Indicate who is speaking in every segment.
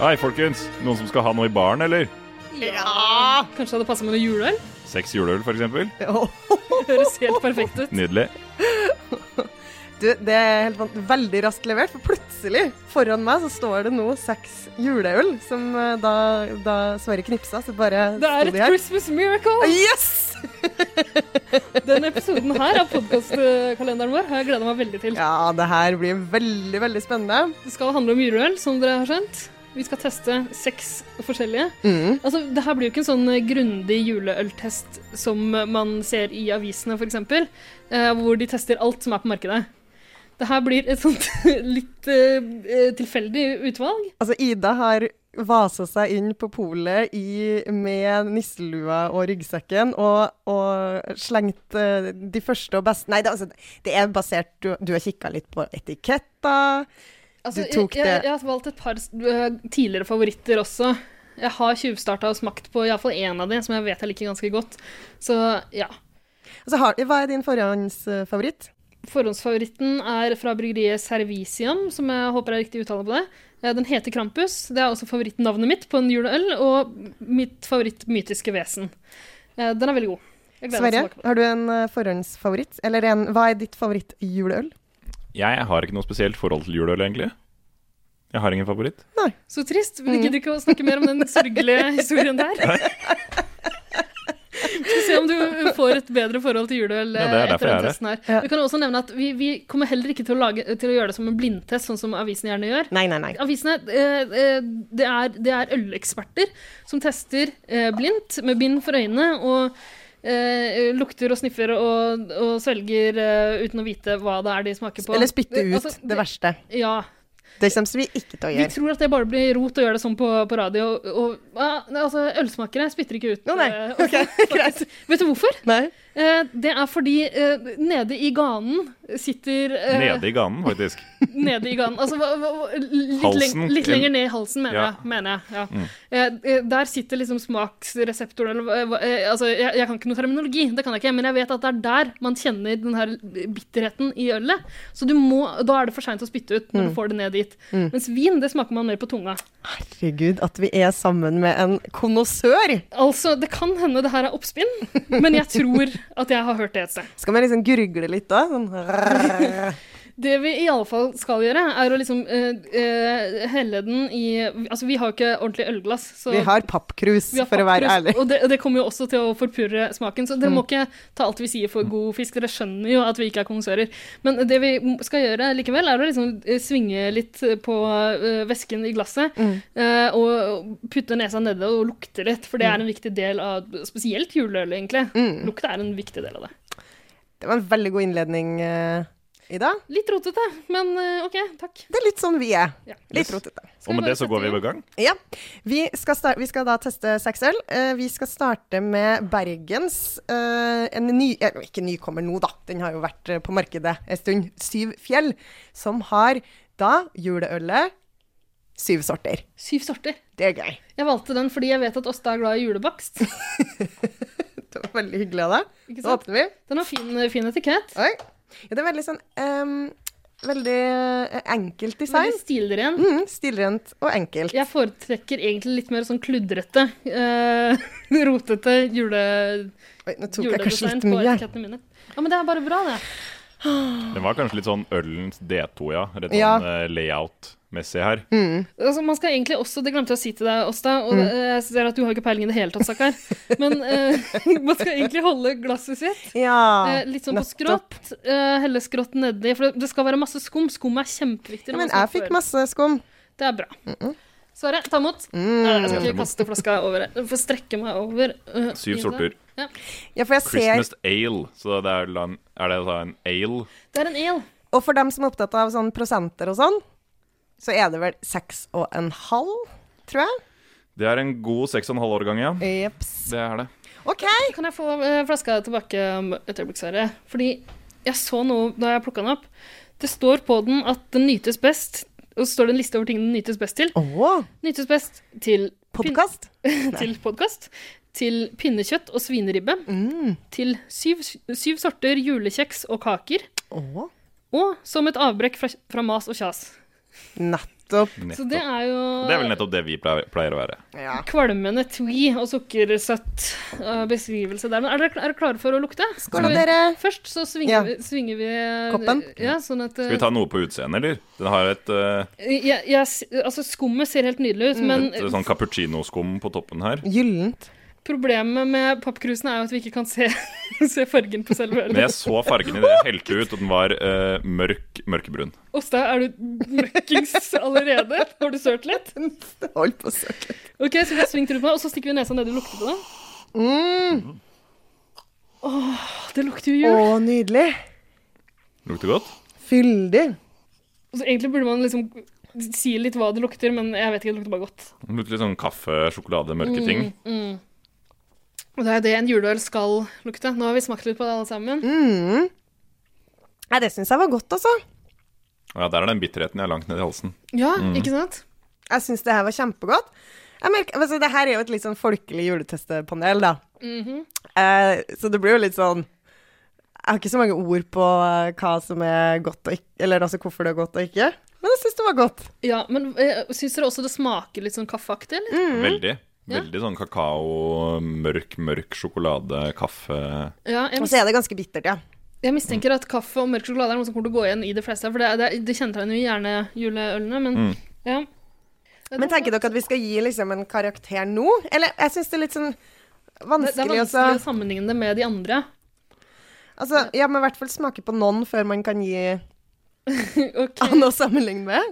Speaker 1: Hei, folkens. Noen som skal ha noe i baren, eller?
Speaker 2: Ja!
Speaker 3: Kanskje det hadde passa med noe juleøl?
Speaker 1: Seks juleøl, f.eks.
Speaker 3: Høres helt perfekt ut.
Speaker 1: Nydelig.
Speaker 2: Du, det er helt vant- veldig raskt levert, for plutselig foran meg så står det nå seks juleøl, som eh, da, da Sverre knipsa, så bare
Speaker 3: Det er
Speaker 2: sto
Speaker 3: et
Speaker 2: de her.
Speaker 3: Christmas miracle!
Speaker 2: Yes!
Speaker 3: Denne episoden her av podkastkalenderen vår har jeg gleda meg veldig til.
Speaker 2: Ja, det her blir veldig, veldig spennende.
Speaker 3: Det skal handle om juleøl, som dere har skjønt. Vi skal teste seks forskjellige.
Speaker 2: Mm.
Speaker 3: Altså, det her blir jo ikke en sånn eh, grundig juleøltest som man ser i avisene, f.eks., eh, hvor de tester alt som er på markedet. Det her blir et sånt litt eh, tilfeldig utvalg.
Speaker 2: Altså, Ida har vasa seg inn på polet i, med nisselua og ryggsekken og, og slengt eh, de første og beste Nei, det, er altså, det er basert Du, du har kikka litt på etiketter.
Speaker 3: Altså,
Speaker 2: Du tok
Speaker 3: jeg, jeg,
Speaker 2: det-
Speaker 3: jeg har valgt et par s- øh, tidligere favoritter også. Jeg har tjuvstarta og smakt på iallfall én av de, som jeg vet jeg liker ganske godt. Så ja.
Speaker 2: Altså, har, hva er din forhåndsfavoritt?
Speaker 3: Forhåndsfavoritten er fra bryggeriet Servicium, som jeg håper er riktig uttale på det. Eh, Den heter Krampus. Det er også favorittnavnet mitt på en juleøl, og mitt favorittmytiske vesen. Eh, Den er veldig god. Jeg gleder meg til
Speaker 2: Sverre,
Speaker 3: å smake på den.
Speaker 2: har du en eh, forhåndsfavoritt? Eller en, hva er ditt favorittjuleøl?
Speaker 1: Jeg har ikke noe spesielt forhold til juleøl, egentlig. Jeg har ingen favoritt.
Speaker 3: Så trist. Vi gidder ikke å snakke mer om den sørgelige historien der. Vi skal se om du får et bedre forhold til juleøl
Speaker 1: Ja, det er
Speaker 3: eh,
Speaker 1: derfor
Speaker 3: etter
Speaker 1: jeg
Speaker 3: den
Speaker 1: er
Speaker 3: testen her.
Speaker 2: Ja.
Speaker 3: Vi kan også nevne at vi, vi kommer heller ikke til å, lage, til å gjøre det som en blindtest, sånn som avisen gjerne gjør.
Speaker 2: Nei, nei, nei.
Speaker 3: Avisene, eh, eh, det er, det er øleksperter som tester eh, blindt, med bind for øynene, og eh, lukter og sniffer og, og svelger eh, uten å vite hva det er de smaker på.
Speaker 2: Eller spytte
Speaker 3: Eh,
Speaker 2: ut
Speaker 3: altså,
Speaker 2: det verste.
Speaker 3: Ja,
Speaker 2: Det kommer vi ikke til å
Speaker 3: vi
Speaker 2: gjøre.
Speaker 3: tror at det bare blir rot å gjøre det sånn på, på radio. Og, og, ah, nei, altså, ølsmakere spytter ikke ut.
Speaker 2: Å, nei.
Speaker 3: eh,
Speaker 2: Ok, greit.
Speaker 3: Vet du hvorfor?
Speaker 2: Nei.
Speaker 3: Eh, det er fordi eh, nede i ganen sitter eh,
Speaker 1: Nede i ganen, faktisk.
Speaker 3: Nede i ganen. Altså, hva- hva- hva- litt,
Speaker 1: Halsen.
Speaker 3: leng litt lenger ned i halsen, mener
Speaker 1: Ja. Mm.
Speaker 3: jeg. Mener jeg ja. Eh, eh, der sitter liksom smaksreseptoren eller hva- hva- eh, altså, jeg, jeg kan ikke noe terminologi, det kan jeg ikke, men jeg vet at det er der man kjenner den her bitterheten i ølet. Så du må, da er det for seint å spytte ut
Speaker 2: Mm.
Speaker 3: når du får det ned dit. Mens vin, det smaker man mer på tunga.
Speaker 2: Herregud, at vi er sammen med en konnoissør!
Speaker 3: Altså, det kan hende det her er oppspinn, men jeg tror at jeg har hørt det et sted.
Speaker 2: Skal vi liksom gurgle litt da? Sånn.
Speaker 3: Det vi i alle fall skal gjøre, er å liksom eh, eh, helle den i Altså, vi har jo ikke ordentlig ølglass, så
Speaker 2: Vi har pappkrus,
Speaker 3: Vi har
Speaker 2: for å være
Speaker 3: faktisk-
Speaker 2: ærlig. Mm.
Speaker 3: Og det, og det kommer jo også til å forpurre smaken, så dere må ikke ta alt vi sier for god fisk. Dere skjønner jo at vi ikke er kondisører. Men det vi m- skal gjøre likevel, er å liksom eh, svinge litt på eh, væsken i glasset,
Speaker 2: Mm.
Speaker 3: eh, og putte nesa nede og lukte litt, for det
Speaker 2: Mm.
Speaker 3: er en viktig del av spesielt juleøl, egentlig. Lukt er en viktig del av det.
Speaker 2: Det var en veldig god innledning, eh, Ida.
Speaker 3: Litt rotete, men eh, OK, takk.
Speaker 2: Det er litt sånn vi er.
Speaker 3: Ja.
Speaker 2: Litt
Speaker 1: Yes.
Speaker 2: rotete.
Speaker 3: Skal
Speaker 1: Og med
Speaker 3: bare
Speaker 1: det så
Speaker 3: sette
Speaker 1: går vi
Speaker 3: i
Speaker 1: i gang.
Speaker 2: Ja. Vi skal, star- vi skal da teste seks øl. Eh, vi skal starte med Bergens. eh, en ny eh, Ikke nykommer nå, da. Den har jo vært eh, på markedet en stund. Syv Fjell. Som har da juleølet syv sorter.
Speaker 3: Syv sorter.
Speaker 2: Det er gøy.
Speaker 3: Jeg valgte den fordi jeg vet at Åsta er glad i julebakst.
Speaker 2: Det var veldig hyggelig av deg.
Speaker 3: Ikke
Speaker 2: Da
Speaker 3: sant?
Speaker 2: åpner vi.
Speaker 3: Den har fin, fin etikett.
Speaker 2: Oi. Ja, det er veldig sånn ehm, Veldig eh, enkelt design.
Speaker 3: Veldig stilren.
Speaker 2: Mm, stilrent og enkelt.
Speaker 3: Jeg foretrekker egentlig litt mer sånn kludrete, eh, rotete jule,
Speaker 2: Oi, nå tok jeg
Speaker 3: juledesign
Speaker 2: kanskje litt
Speaker 3: på
Speaker 2: mye. her.
Speaker 3: etikettene mine. Ja, men det er bare bra, det.
Speaker 1: Den var kanskje litt sånn ølens D2, ja. Rett sånn
Speaker 2: Ja.
Speaker 1: eh, layout-messig her.
Speaker 3: Altså, man skal egentlig også, Det glemte jeg å si til deg, Åsta, og
Speaker 2: Mm.
Speaker 3: eh, jeg ser at du har ikke peiling i det hele tatt, stakkar. Men eh, man skal egentlig holde glasset sitt
Speaker 2: Ja,
Speaker 3: eh, litt sånn på
Speaker 2: nettopp.
Speaker 3: skrått. eh, helle skrått nedi. For det- det skal være masse skum. Skum er kjempeviktig. når man
Speaker 2: Men jeg
Speaker 3: skal på
Speaker 2: fikk
Speaker 3: øl.
Speaker 2: masse Mm. skum.
Speaker 3: Det er bra. Sverre, ta imot. Nei, jeg skal ikke kaste flaska over. Jeg får strekke meg over. eh, i
Speaker 1: Syv
Speaker 3: det.
Speaker 1: sorter.
Speaker 3: Ja.
Speaker 2: Ja, for jeg ser
Speaker 1: Christmas ale. Så det er, la- er det da en ale?
Speaker 3: Det er en el.
Speaker 2: Og for dem som er opptatt av sånn prosenter og sånn, så er det vel seks og en halv, tror jeg.
Speaker 1: Det er en god 6,5-årgang, ja.
Speaker 2: Jeps.
Speaker 1: Det er det.
Speaker 2: OK.
Speaker 3: Kan jeg få eh, flaska tilbake om et øyeblikk, Sverre? Fordi jeg så noe da jeg plukka den opp. Det står på den at den nytes best, og så står det en liste over ting den nytes best til.
Speaker 2: Å,
Speaker 3: Nytes best til, pin
Speaker 2: podkast.
Speaker 3: til podkast, til pinnekjøtt og svineribbe,
Speaker 2: Mm.
Speaker 3: til syv, syv sorter julekjeks og kaker,
Speaker 2: Å,
Speaker 3: og som et avbrekk fra, fra mas og kjas.
Speaker 2: Nettopp.
Speaker 3: Så det
Speaker 1: Nettopp.
Speaker 3: er jo
Speaker 1: Det er vel nettopp det vi pleier pleier å være.
Speaker 2: Ja.
Speaker 3: kvalmende tvi og sukkersøtt eh, beskrivelse der. Men er dere, er dere klare for å lukte?
Speaker 2: Skål,
Speaker 3: Skal vi-
Speaker 2: dere.
Speaker 3: Først så svinger,
Speaker 2: Ja.
Speaker 3: vi, svinger vi
Speaker 2: Koppen?
Speaker 3: Ja, sånn at eh,
Speaker 1: Skal vi ta noe på utseendet, eller? Den har et, eh,
Speaker 3: jeg, jeg, s- Altså, skummet ser helt nydelig ut,
Speaker 2: Mm.
Speaker 3: men
Speaker 1: et sånn cappuccinoskum på toppen her.
Speaker 2: Gyllent.
Speaker 3: problemet med pappkrusene er jo at vi ikke kan se, se fargen på selve
Speaker 1: Men
Speaker 3: ølet.
Speaker 1: jeg så fargen i det jeg helte ut, og den var eh, mørk, mørkebrun.
Speaker 3: Åsta, er du møkkings allerede? Har du sølt litt?
Speaker 2: Hold på å søke.
Speaker 3: Ok, så vi har svingt rundt på det, og så stikker vi nesa ned og lukter på det.
Speaker 2: Mm.
Speaker 3: Åh, Det lukter jo
Speaker 2: Å,
Speaker 3: jul.
Speaker 2: nydelig.
Speaker 1: Lukter godt?
Speaker 2: Fyldig.
Speaker 3: Så egentlig burde man liksom si litt hva det lukter, men jeg vet ikke, det lukter bare godt.
Speaker 1: Den Lukter litt sånn kaffe, sjokolade, mørke
Speaker 2: Mm.
Speaker 1: ting.
Speaker 3: Og det er jo det en juleøl skal lukte. Nå har vi smakt litt på det alle sammen.
Speaker 2: Mm. Nei, det syns jeg var godt, altså.
Speaker 1: Ja, der er den bitterheten jeg har langt ned i halsen.
Speaker 3: Ja,
Speaker 1: Mm.
Speaker 3: ikke sant?
Speaker 2: Jeg syns det her var kjempegodt. Jeg merker, altså, det her er jo et litt sånn folkelig juletestepanel, da.
Speaker 3: Mm-hmm.
Speaker 2: eh, så det blir jo litt sånn Jeg har ikke så mange ord på eh, hva som er godt og ikke, eller altså hvorfor det er godt og ikke, men jeg syns det var godt.
Speaker 3: Ja, men eh, syns dere også det smaker litt sånn kaffeaktig,
Speaker 2: Mm.
Speaker 3: eller?
Speaker 1: Veldig.
Speaker 3: Ja.
Speaker 1: Veldig sånn kakao, mørk, mørk sjokolade, kaffe
Speaker 3: Ja, jeg,
Speaker 2: Og så er det ganske bittert, ja.
Speaker 3: jeg mistenker at kaffe og mørk sjokolade er noe som kommer til å gå igjen i de fleste, for det, er- det, er- det kjennetegner jo gjerne juleølene, men ja.
Speaker 2: Men tenker dere at vi skal gi liksom en karakter nå? Eller jeg syns det er litt sånn
Speaker 3: det, det er
Speaker 2: vanskelig,
Speaker 3: vanskelig å
Speaker 2: altså.
Speaker 3: sammenligne det med de andre.
Speaker 2: altså ja, men i hvert fall smake på noen før man kan gi
Speaker 3: Ok.
Speaker 2: an å sammenligne med.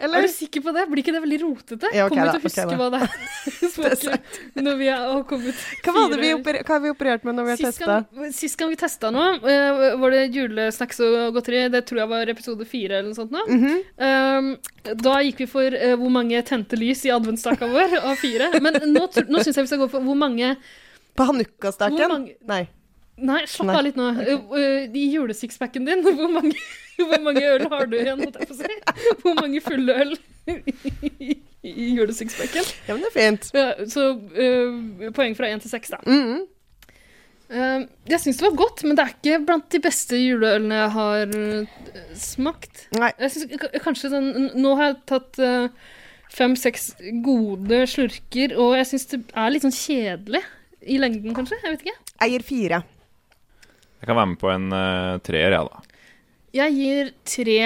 Speaker 3: Er
Speaker 2: Eller?
Speaker 3: du sikker på det? Blir ikke det veldig rotete?
Speaker 2: Ja, ok
Speaker 3: kommer vi til
Speaker 2: da,
Speaker 3: å huske
Speaker 2: ok da.
Speaker 3: hva det er smaker når vi er, har kommet
Speaker 2: Hva var det vi
Speaker 3: fire-
Speaker 2: oper hva har vi operert med når vi har
Speaker 3: Sist
Speaker 2: testa?
Speaker 3: gang, sist gang vi testa noe, eh, var det julesnacks og godteri. Det tror jeg var episode fire eller noe sånt. nå.
Speaker 2: Mhm.
Speaker 3: Eh, da gikk vi for eh, hvor mange tente lys i adventsstaka vår av fire. Men nå, tr- nå syns jeg vi skal gå for hvor mange
Speaker 2: På
Speaker 3: Hvor
Speaker 2: hanukkastaken?
Speaker 3: mange-
Speaker 2: Nei.
Speaker 3: Nei, slapp
Speaker 2: Nei.
Speaker 3: av litt nå. Eh, eh, I julesixpacken din, hvor mange, hvor mange øl har du igjen? holdt jeg på å si? Hvor mange fulle øl i, i julesixpacken?
Speaker 2: Ja, men det er fint.
Speaker 3: Ja, så eh, poeng fra én til seks, da.
Speaker 2: Mhm.
Speaker 3: Eh, jeg syns det var godt, men det er ikke blant de beste juleølene jeg har eh, smakt.
Speaker 2: Nei.
Speaker 3: Jeg synes, k- kanskje den, n- Nå har jeg tatt fem-seks gode slurker, og jeg syns det er litt sånn kjedelig i lengden, kanskje. Jeg vet ikke.
Speaker 2: Jeg gir fire.
Speaker 1: Jeg kan være med på en eh, treer, jeg, da.
Speaker 3: Jeg gir tre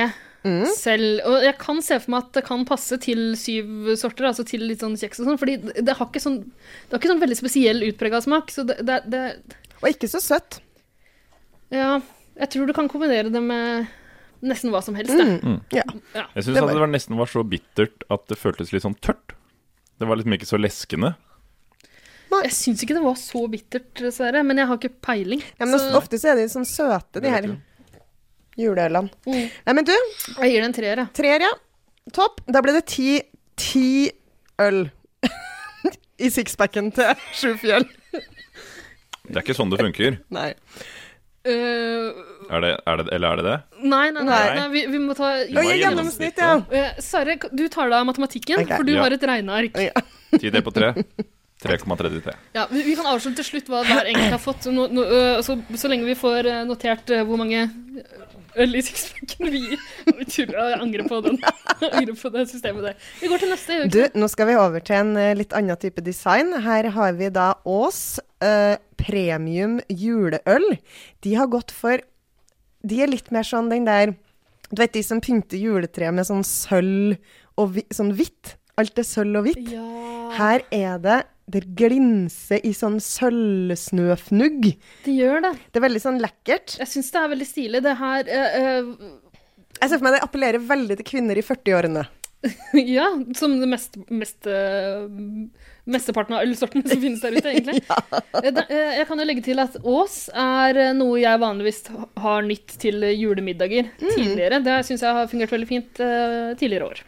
Speaker 2: Mm.
Speaker 3: selv, og jeg kan se for meg at det kan passe til syv sorter, altså til litt sånn kjeks og sånn, fordi det, det har ikke sånn Det har ikke sånn veldig spesiell utprega smak, så det, det, det
Speaker 2: Og ikke så søtt.
Speaker 3: Ja. Jeg tror du kan kombinere det med nesten hva som helst, det.
Speaker 2: Ja.
Speaker 1: Jeg
Speaker 2: Det
Speaker 1: syns
Speaker 2: var-
Speaker 1: det var nesten var så bittert at det føltes litt sånn tørt. Det var liksom ikke så leskende.
Speaker 3: Jeg syns ikke det var så bittert, dessverre, men jeg har ikke peiling.
Speaker 2: ja men
Speaker 3: så
Speaker 2: ofte så er de sånn søte, de
Speaker 1: Det
Speaker 2: her
Speaker 1: vet
Speaker 2: juleølene.
Speaker 3: Mm.
Speaker 2: Nei, men du,
Speaker 3: jeg gir det en treer, jeg.
Speaker 2: treer, ja. Topp. Da ble det ti, ti øl i sixpacken til sju fjell.
Speaker 1: Det er ikke sånn det funker.
Speaker 2: Nei.
Speaker 3: Øh,
Speaker 1: Er det, er det, eller er det det?
Speaker 3: nei, nei, nei, nei,
Speaker 1: Nei.
Speaker 3: vi, vi må ta
Speaker 1: Hva
Speaker 2: Og
Speaker 1: er
Speaker 2: i
Speaker 1: gjennomsnittet?
Speaker 2: gjennomsnitt, ja.
Speaker 3: Øh, Sverre, k- du tar deg av matematikken,
Speaker 2: Ok.
Speaker 3: for du
Speaker 1: Ja.
Speaker 3: har et regneark.
Speaker 2: Ja.
Speaker 1: Ti delt på tre. 3,33.
Speaker 3: Ja, vi, vi kan avslutte til slutt hva hver enkelt har fått, nå, nå, øh, så, så lenge vi får øh, notert øh, hvor mange eh, øl i sixpacken vi gir. Tull, Jeg angrer på den. Jeg angrer på det systemet der. Vi går til neste. gjør vi
Speaker 2: Du,
Speaker 3: ikke
Speaker 2: nå skal vi over til en eh, litt annen type design. Her har vi da Ås eh, premium juleøl. De har gått for De er litt mer sånn den der Du vet de som pynter juletreet med sånn sølv og hvi, sånn hvitt? Alt er sølv og hvitt.
Speaker 3: det? Ja,
Speaker 2: Her er det Det glinser i sånn sølvsnøfnugg.
Speaker 3: de gjør det.
Speaker 2: Det er veldig sånn lekkert.
Speaker 3: Jeg syns det er veldig stilig. Det her øh, øh,
Speaker 2: Jeg ser for meg det appellerer veldig til kvinner i 40-årene.
Speaker 3: Ja, som det mest, mest, eh, mesteparten av ølsorten som finnes der ute, egentlig. Eh, da- eh, Jeg kan jo legge til at Ås er eh, noe jeg vanligvis har nytt til eh, julemiddager
Speaker 2: Mm.
Speaker 3: tidligere. Det syns jeg har fungert veldig fint eh, tidligere år.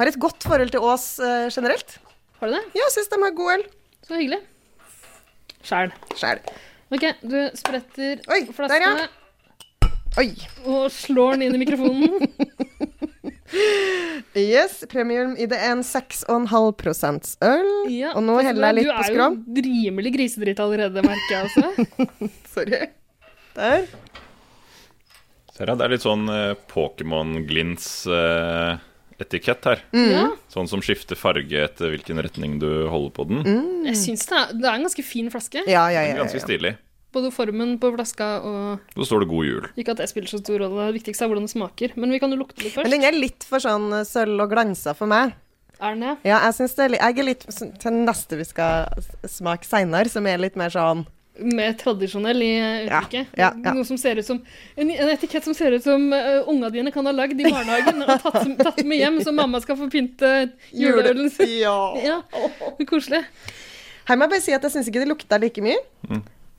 Speaker 2: Har et godt forhold til Ås eh, generelt.
Speaker 3: Har du det?
Speaker 2: Ja, syns de har god øl.
Speaker 3: Så hyggelig. Sjæl.
Speaker 2: Sjæl.
Speaker 3: OK, du spretter
Speaker 2: Oi, der,
Speaker 3: flaskene
Speaker 2: ja. Oi.
Speaker 3: og slår den inn i mikrofonen.
Speaker 2: Yes, premium i det er en 6,5 øl.
Speaker 3: Ja,
Speaker 2: og nå
Speaker 3: så
Speaker 2: heller jeg litt på skrå.
Speaker 3: sånn, Du er jo rimelig grisedritt allerede, merker jeg altså.
Speaker 2: Sorry. Der.
Speaker 1: Ser jeg, det er litt sånn eh, Pokémon-glins eh, etikett her.
Speaker 2: Mm.
Speaker 3: Ja,
Speaker 1: Sånn som skifter farge etter hvilken retning du holder på den.
Speaker 3: jeg syns det er, det er en ganske fin flaske.
Speaker 2: Ja, ja,
Speaker 1: Det
Speaker 2: ja.
Speaker 1: er Ganske
Speaker 2: ja, ja.
Speaker 1: stilig.
Speaker 3: Både formen på flaska og
Speaker 1: Så står det 'God jul'.
Speaker 3: Ikke at det spiller så stor rolle, det viktigste er hvordan det smaker. Men vi kan jo lukte litt først.
Speaker 2: Men den er litt for sånn eh, sølv og glansa for meg.
Speaker 3: Er den det?
Speaker 2: Ja, jeg syns det er litt Jeg er litt sånn til neste vi skal s- smake seinere, som er litt mer sånn
Speaker 3: Mer tradisjonell i
Speaker 2: Ja,
Speaker 3: uttrykket.
Speaker 2: ja, ja.
Speaker 3: Noe som ser ut som En, en etikett som ser ut som uh, unga dine kan ha lagd i barnehagen og tatt, som- tatt med hjem, så mamma skal få pynte juleølen sin.
Speaker 2: Ja.
Speaker 3: Ja, koselig.
Speaker 2: Her må jeg bare si at jeg syns ikke det lukta like mye.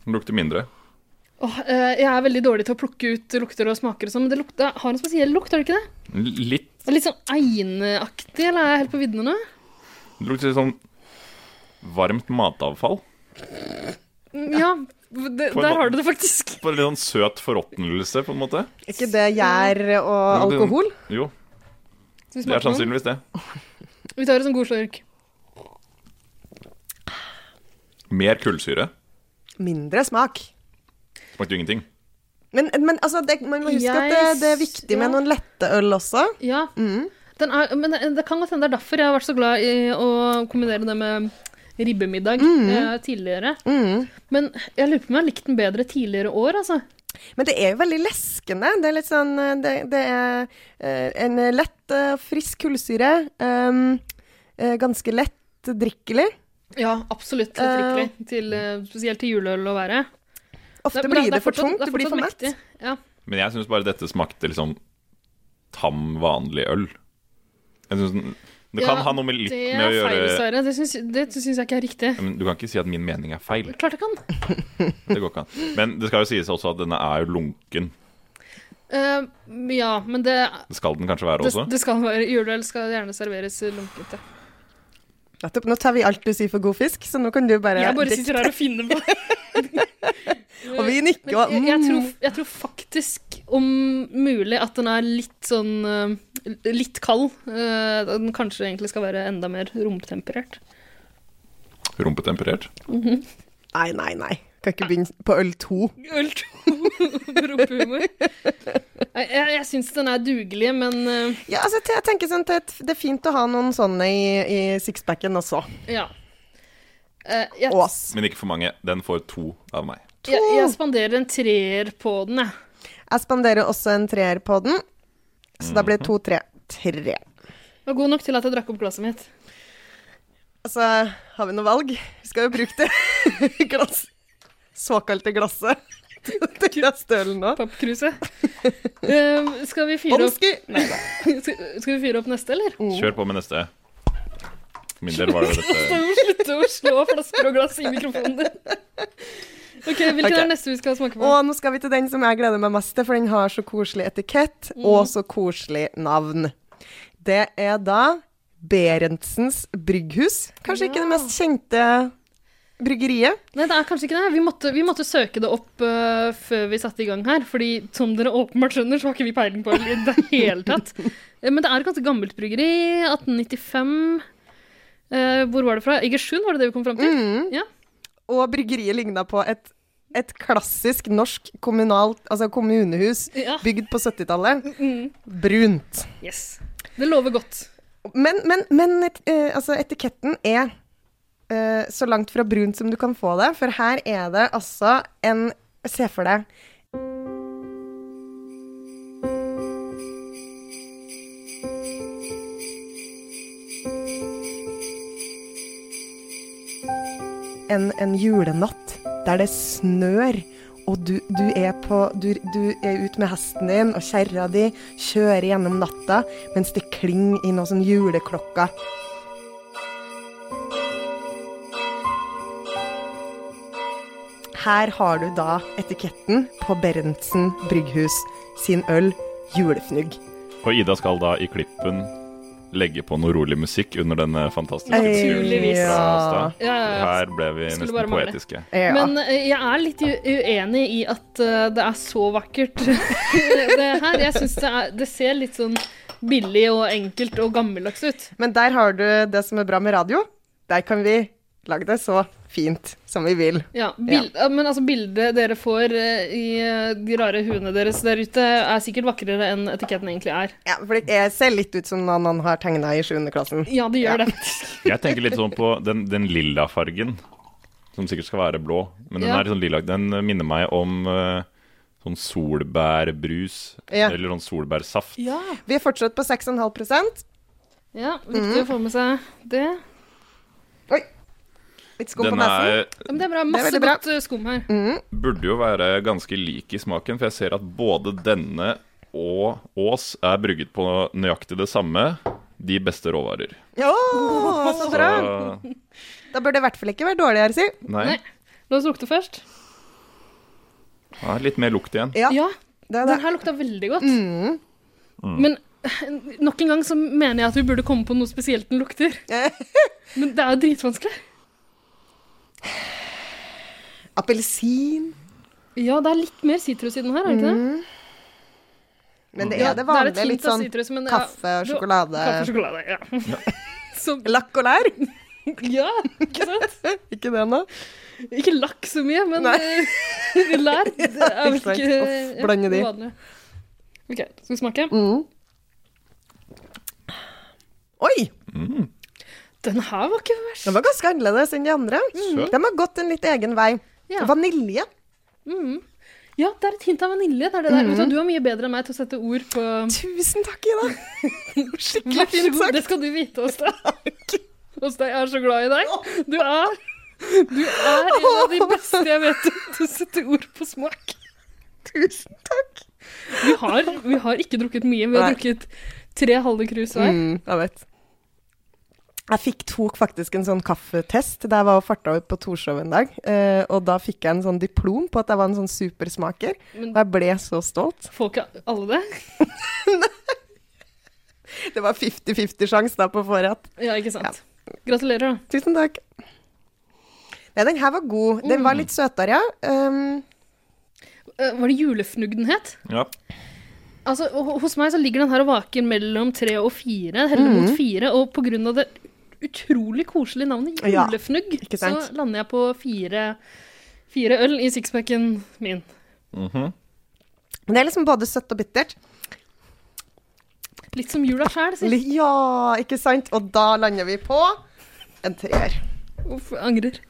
Speaker 1: Den lukter mindre.
Speaker 3: Åh, eh, jeg er veldig dårlig til å plukke ut lukter og smaker og sånn, men det lukta, har en spesiell lukt, har det ikke det?
Speaker 1: L- Litt
Speaker 3: Det er Litt sånn eineaktig, eller er jeg helt på viddene nå?
Speaker 1: Det lukter litt sånn varmt matavfall.
Speaker 3: Mm, Ja,
Speaker 1: På
Speaker 3: det,
Speaker 1: en
Speaker 3: der
Speaker 1: måte.
Speaker 3: har du det faktisk.
Speaker 1: Bare litt sånn søt forråtnelse, på en måte.
Speaker 2: Er ikke det gjær og
Speaker 1: Jo, det-
Speaker 2: alkohol?
Speaker 1: Jo, det
Speaker 3: Skal vi
Speaker 1: er
Speaker 3: smake på den?
Speaker 1: sannsynligvis det.
Speaker 3: Vi tar en sånn god slurk.
Speaker 1: Mer kullsyre.
Speaker 2: Mindre smak.
Speaker 1: Smakte jo ingenting.
Speaker 2: Men, men altså, det, man må huske
Speaker 3: Jeg
Speaker 2: at det, det er
Speaker 3: s-
Speaker 2: viktig med
Speaker 3: ja.
Speaker 2: noen lette øl også.
Speaker 3: Ja.
Speaker 2: Mm.
Speaker 3: Den er, men det, det kan godt hende det er derfor jeg har vært så glad i å kombinere det med ribbemiddag
Speaker 2: Mm.
Speaker 3: eh, tidligere. Men jeg lurer på om jeg har likt den bedre tidligere år, altså.
Speaker 2: Men det er jo veldig leskende. Det er litt sånn eh, Det, det er eh, en lett, eh, frisk kullsyre. ehm, eh, ganske lett drikkelig.
Speaker 3: Ja, absolutt. Drikkelig. Til, eh, spesielt til juleøl å være.
Speaker 2: Ofte
Speaker 3: Nei, men
Speaker 2: blir det,
Speaker 3: er
Speaker 2: for
Speaker 3: fortsatt-
Speaker 2: tungt,
Speaker 3: er
Speaker 2: det, blir for
Speaker 3: fortsatt
Speaker 2: mett.
Speaker 3: mektig. Ja.
Speaker 1: Men jeg syns bare dette smakte liksom tam, vanlig øl. Jeg synes den, det kan
Speaker 3: Ja,
Speaker 1: ha noe med litt
Speaker 3: Det
Speaker 1: med å
Speaker 3: er feil,
Speaker 1: gjøre
Speaker 3: dessverre. Det syns, det syns jeg ikke er riktig.
Speaker 1: Ja, men Du kan ikke si at min mening er feil.
Speaker 3: Klart jeg kan.
Speaker 1: Det går ikke an. Men det skal jo sies også at denne er jo lunken.
Speaker 3: Eh, ja, men det,
Speaker 1: Det skal den kanskje være
Speaker 3: det,
Speaker 1: også.
Speaker 3: det skal være Juleøl skal gjerne serveres lunkete.
Speaker 2: Nettopp. Nå tar vi alt du sier for god fisk, så nå kan du bare,
Speaker 3: Jeg bare
Speaker 2: drikke.
Speaker 3: sitter her og finner på
Speaker 2: Og vi nikker og
Speaker 3: Men jeg, jeg, tror,
Speaker 2: mm.
Speaker 3: jeg tror faktisk om mulig at den er litt sånn eh, Litt kald. Eh, Den kanskje egentlig skal være enda mer romtemperert.
Speaker 1: Rumpetemperert.
Speaker 2: Nei, nei, nei. Kan ikke begynne på øl to.
Speaker 3: Øl to rumpehumor. Nei, Jeg, jeg syns den er dugelig, men eh,
Speaker 2: Ja, altså, jeg tenker sånn at det er fint å ha noen sånne i, i sixpacken også.
Speaker 3: ja. Eh, Jeg,
Speaker 2: Ås.
Speaker 1: Men ikke for mange. Den får to av meg.
Speaker 3: jeg, jeg spanderer en treer på den, jeg.
Speaker 2: Jeg spanderer også en treer på den, så da blir det to, tre, tre.
Speaker 3: Det Var god nok til at jeg drakk opp glasset mitt.
Speaker 2: Altså, har vi noe valg? Vi skal jo bruke det glass, såkalte glasset til glassdølen nå.
Speaker 3: Pappkruset. Eh, skal, vi fyre opp,
Speaker 2: Omski!
Speaker 3: skal, skal vi fyre opp neste, eller?
Speaker 1: Kjør på med neste. For min del var det dette.
Speaker 3: Slutte å slå flasker og glass i mikrofonen din. Ok, Hvilken
Speaker 2: Ok.
Speaker 3: er neste vi skal smake på?
Speaker 2: Og nå skal vi til den som jeg gleder meg mest til, for den har så koselig etikett og så koselig navn. Det er da Berentsens Brygghus. Kanskje ikke det mest kjente bryggeriet.
Speaker 3: Nei, det er kanskje ikke det. Vi måtte, vi måtte søke det opp øh, før vi satte i gang her. fordi som dere åpenbart skjønner, så har ikke vi peiling på det i det hele tatt. Eh, Men det er et ganske gammelt bryggeri. 1895. Eh, hvor var det fra? Egersund, var det det vi kom fram til? Ja.
Speaker 2: Mm. Og bryggeriet ligna på et, et klassisk norsk kommunalt, altså kommunehus
Speaker 3: Ja.
Speaker 2: bygd på 70-tallet. Brunt.
Speaker 3: Mm. Yes. Det lover godt.
Speaker 2: Men, men, men et, eh, altså etiketten er eh, så langt fra brunt som du kan få det, for her er det altså en Se for deg en, en julenatt der det snør, og du, du er på du, du er ute med hesten din og kjerra di, kjører gjennom natta mens det klinger i noen sånn juleklokker. Her har du da etiketten på Berentsen Brygghus sin øl julefnugg.
Speaker 1: Og Ida skal da i klippen legge på noe rolig musikk under denne fantastiske
Speaker 3: Naturligvis.
Speaker 1: musikken fra
Speaker 2: Ja.
Speaker 1: Astad.
Speaker 3: Ja, ja, ja.
Speaker 1: Her ble vi
Speaker 3: Skulle bare
Speaker 1: nesten
Speaker 3: mangle.
Speaker 1: poetiske.
Speaker 2: Ja.
Speaker 3: Men eh, jeg er litt u- uenig i at eh, det er så vakkert, det her. Jeg syns det, er- det ser litt sånn billig og enkelt og gammeldags ut.
Speaker 2: Men der har du det som er bra med radio. Der kan vi Lag det så fint som vi vil.
Speaker 3: Ja, bil, Men altså, bildet dere får eh, i eh, de rare huene deres der ute, er sikkert vakrere enn etiketten egentlig er.
Speaker 2: Ja, for det er- ser litt ut som noe noen har tegna i 7. klassen.
Speaker 3: Ja, det
Speaker 2: Ja.
Speaker 3: gjør det, faktisk.
Speaker 1: Jeg tenker litt sånn på den, den lilla fargen, som sikkert skal være blå. Men den
Speaker 3: Ja.
Speaker 1: er litt sånn lilla. Den minner meg om eh, sånn solbærbrus,
Speaker 2: Ja.
Speaker 1: eller sånn solbærsaft.
Speaker 3: Ja.
Speaker 2: Vi er fortsatt på 6,5
Speaker 3: viktig
Speaker 2: Mm.
Speaker 3: å få med seg det.
Speaker 2: Oi! Litt skum på
Speaker 1: Den
Speaker 2: nesen.
Speaker 1: er,
Speaker 3: Ja, men det er bra.
Speaker 2: veldig
Speaker 3: Masse
Speaker 2: bra. Mm.
Speaker 3: godt eh, skum her.
Speaker 1: burde jo være ganske lik i smaken, for jeg ser at både denne og Ås er brygget på nøyaktig det samme. De beste råvarer.
Speaker 2: Å, så bra!
Speaker 1: Så,
Speaker 2: Da bør det i hvert fall ikke være dårligere, si.
Speaker 1: nei,
Speaker 3: Nei. La oss lukte først.
Speaker 1: ja, litt mer lukt igjen.
Speaker 2: Ja,
Speaker 3: Ja, Mm.
Speaker 2: det er
Speaker 3: den
Speaker 2: det.
Speaker 3: her lukta veldig godt. Men eh, nok en gang så mener jeg at vi burde komme på noe spesielt den lukter. Men det er jo dritvanskelig.
Speaker 2: Appelsin.
Speaker 3: Ja, det er litt mer sitrus i den her, er det ikke det?
Speaker 2: Men det
Speaker 3: Ja,
Speaker 2: er det
Speaker 3: er et
Speaker 2: vanlige.
Speaker 3: hint
Speaker 2: Litt
Speaker 3: av
Speaker 2: sånn
Speaker 3: sitrus, men, ja,
Speaker 2: kaffe og
Speaker 3: det- Kaffe og
Speaker 2: sjokolade.
Speaker 3: sjokolade, ja. Så,
Speaker 2: Lakk og lær.
Speaker 3: ja, ikke sant?
Speaker 2: Ikke det nå?
Speaker 3: Ikke lakk så mye, men
Speaker 2: Nei.
Speaker 3: eh, lær. Det er vel
Speaker 2: ikke sant.
Speaker 3: ikke eh,
Speaker 2: Uff, blande de.
Speaker 3: vanlig. OK, skal vi smake?
Speaker 2: Mm. Oi!
Speaker 3: Den her var ikke verst.
Speaker 2: Den var ganske annerledes enn de andre.
Speaker 1: Søt.
Speaker 2: Den har gått en litt egen vei.
Speaker 3: Ja.
Speaker 2: Vanilje.
Speaker 3: Mm. Ja, det er et hint av vanilje. Det er det der. Vet du, hva, du er mye bedre enn meg til å sette ord på
Speaker 2: Tusen takk, Ida. Skikkelig
Speaker 3: Vær så
Speaker 2: fint
Speaker 3: god, det
Speaker 2: sagt.
Speaker 3: skal du vite, Åsta. Åsta, jeg er så glad i deg. Du er Du er en av de beste jeg vet til å sette ord på smak.
Speaker 2: Tusen takk.
Speaker 3: Vi har, vi har ikke drukket mye. Vi har
Speaker 2: Nei.
Speaker 3: drukket tre halve krus hver.
Speaker 2: Mm, jeg vet. Jeg fikk, tok faktisk en sånn kaffetest da jeg var og farta ut på Torshov en dag. eh, og da fikk jeg en sånn diplom på at jeg var en sånn supersmaker.
Speaker 3: Men-
Speaker 2: Og jeg ble så stolt.
Speaker 3: Får ikke alle det?
Speaker 2: Det var 50-50 sjanse da på forrett.
Speaker 3: Ja, ikke sant. Gratulerer, da.
Speaker 2: Tusen takk. Nei, den her var god. Den var litt søtere, ja. Um,
Speaker 3: Eh, Var det julefnugg den het?
Speaker 1: Ja.
Speaker 3: Altså, ho- hos meg så ligger den her og vaker mellom tre og fire, heller
Speaker 2: Mm.
Speaker 3: mot fire, og på grunn av det utrolig koselige navnet
Speaker 2: Ja,
Speaker 3: julefnugg,
Speaker 2: ikke
Speaker 3: så
Speaker 2: sant?
Speaker 3: lander jeg på fire, fire øl i sixpacken min.
Speaker 1: mhm.
Speaker 2: men det er liksom både søtt og bittert.
Speaker 3: Litt som jula sjæl, si.
Speaker 2: Li- Ja, ikke sant? Og da lander vi på en treer.
Speaker 3: Uff, jeg angrer.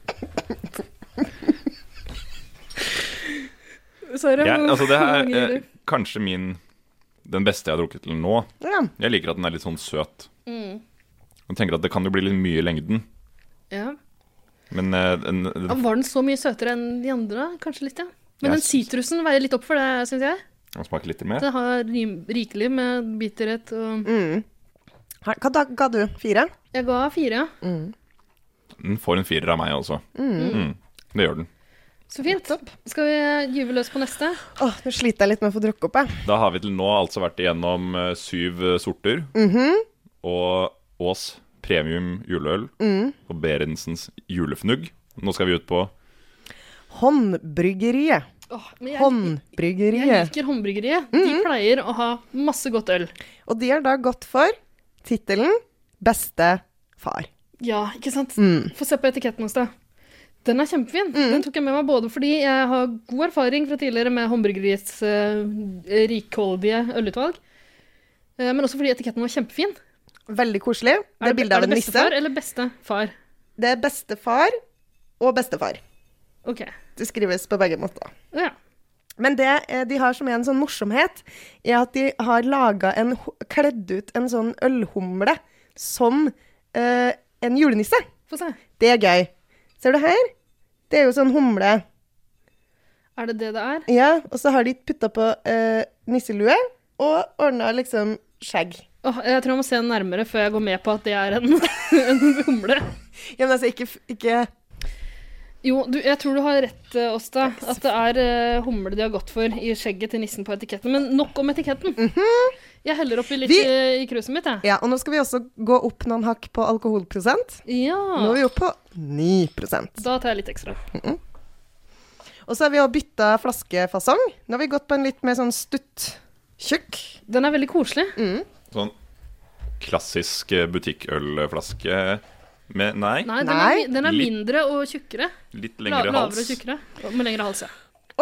Speaker 3: Sorry.
Speaker 1: Jeg,
Speaker 3: men-
Speaker 1: altså, det
Speaker 3: jeg
Speaker 1: er
Speaker 3: angrer.
Speaker 1: eh, kanskje min Den beste jeg har drukket til nå.
Speaker 2: Ja.
Speaker 1: Jeg liker at den er litt sånn søt.
Speaker 3: Mm.
Speaker 1: Jeg tenker at Det kan jo bli litt mye i lengden,
Speaker 3: ja.
Speaker 1: men eh, den, den,
Speaker 3: Ja, Var den så mye søtere enn de andre? Kanskje litt, ja. Men
Speaker 1: Jeg
Speaker 3: den
Speaker 1: syns-
Speaker 3: sitrusen veier litt opp for det, syns jeg.
Speaker 1: den smaker litt mer.
Speaker 3: Den har rim- rikelig med bitterhet og
Speaker 2: Mm. Her- Hva da ga du? Fire?
Speaker 3: Jeg ga fire, ja.
Speaker 1: Den får en firer av meg også. Mm. Det gjør den.
Speaker 3: Så fint. Skal vi eh, gyve løs på neste?
Speaker 2: Åh, nå sliter jeg litt med å få drukket opp, jeg.
Speaker 1: Da har vi til nå altså vært igjennom eh, syv eh, sorter. Og Ås premium juleøl og Berentsens julefnugg. Nå skal vi ut på
Speaker 2: Håndbryggeriet.
Speaker 3: Åh, men jeg, jeg
Speaker 2: Håndbryggeriet.
Speaker 3: liker Håndbryggeriet. De
Speaker 2: Mm.
Speaker 3: pleier å ha masse godt øl.
Speaker 2: Og de har da gått for tittelen Beste far.
Speaker 3: Ja, ikke sant?
Speaker 2: Mm.
Speaker 3: Få se på etiketten hos deg. Den er kjempefin. Den tok jeg med meg både fordi jeg har god erfaring fra tidligere med Håndbryggeriets eh, rikholdige ølutvalg, eh, men også fordi etiketten var kjempefin.
Speaker 2: Vellig koselig. Det
Speaker 3: Er
Speaker 2: er bilde av
Speaker 3: er
Speaker 2: en
Speaker 3: det
Speaker 2: nisse.
Speaker 3: bestefar eller bestefar?
Speaker 2: Det er bestefar og bestefar.
Speaker 3: Ok.
Speaker 2: Det skrives på begge måter.
Speaker 3: Ja.
Speaker 2: Men det eh, de har som er en sånn morsomhet, er at de har laga en ho- Kledd ut en sånn ølhumle som eh, en julenisse.
Speaker 3: Få se.
Speaker 2: Det er gøy. Ser du her? Det er jo sånn humle.
Speaker 3: Er det det det er?
Speaker 2: Ja, og så har de putta på eh, nisselue og ordna liksom skjegg.
Speaker 3: Åh, jeg tror jeg må se den nærmere før jeg går med på at det er en, en humle.
Speaker 2: Ja, men altså, ikke, f- ikke
Speaker 3: Jo, du, jeg tror du har rett, eh, Åsta. At det er eh, humle de har gått for i skjegget til nissen på etiketten. Men nok om etiketten. Jeg heller oppi litt
Speaker 2: Vi-
Speaker 3: eh, i kruset mitt, jeg.
Speaker 2: Ja, og nå skal vi også gå opp noen hakk på alkoholprosent. Nå
Speaker 3: Ja.
Speaker 2: er vi oppe på 9 Og
Speaker 3: Da tar jeg litt ekstra.
Speaker 2: så har vi jo bytta flaskefasong. Nå har vi gått på en litt mer sånn stutt, tjukk.
Speaker 3: Den er veldig koselig.
Speaker 1: sånn klassisk eh, butikkølflaske Med, nei,
Speaker 3: Nei, den er,
Speaker 2: Nei.
Speaker 3: den er
Speaker 1: Litt
Speaker 3: mindre og tjukkere.
Speaker 1: litt
Speaker 3: La,
Speaker 1: lengre
Speaker 3: lavere og
Speaker 1: hals.
Speaker 3: tjukkere. og Med lengre hals, ja.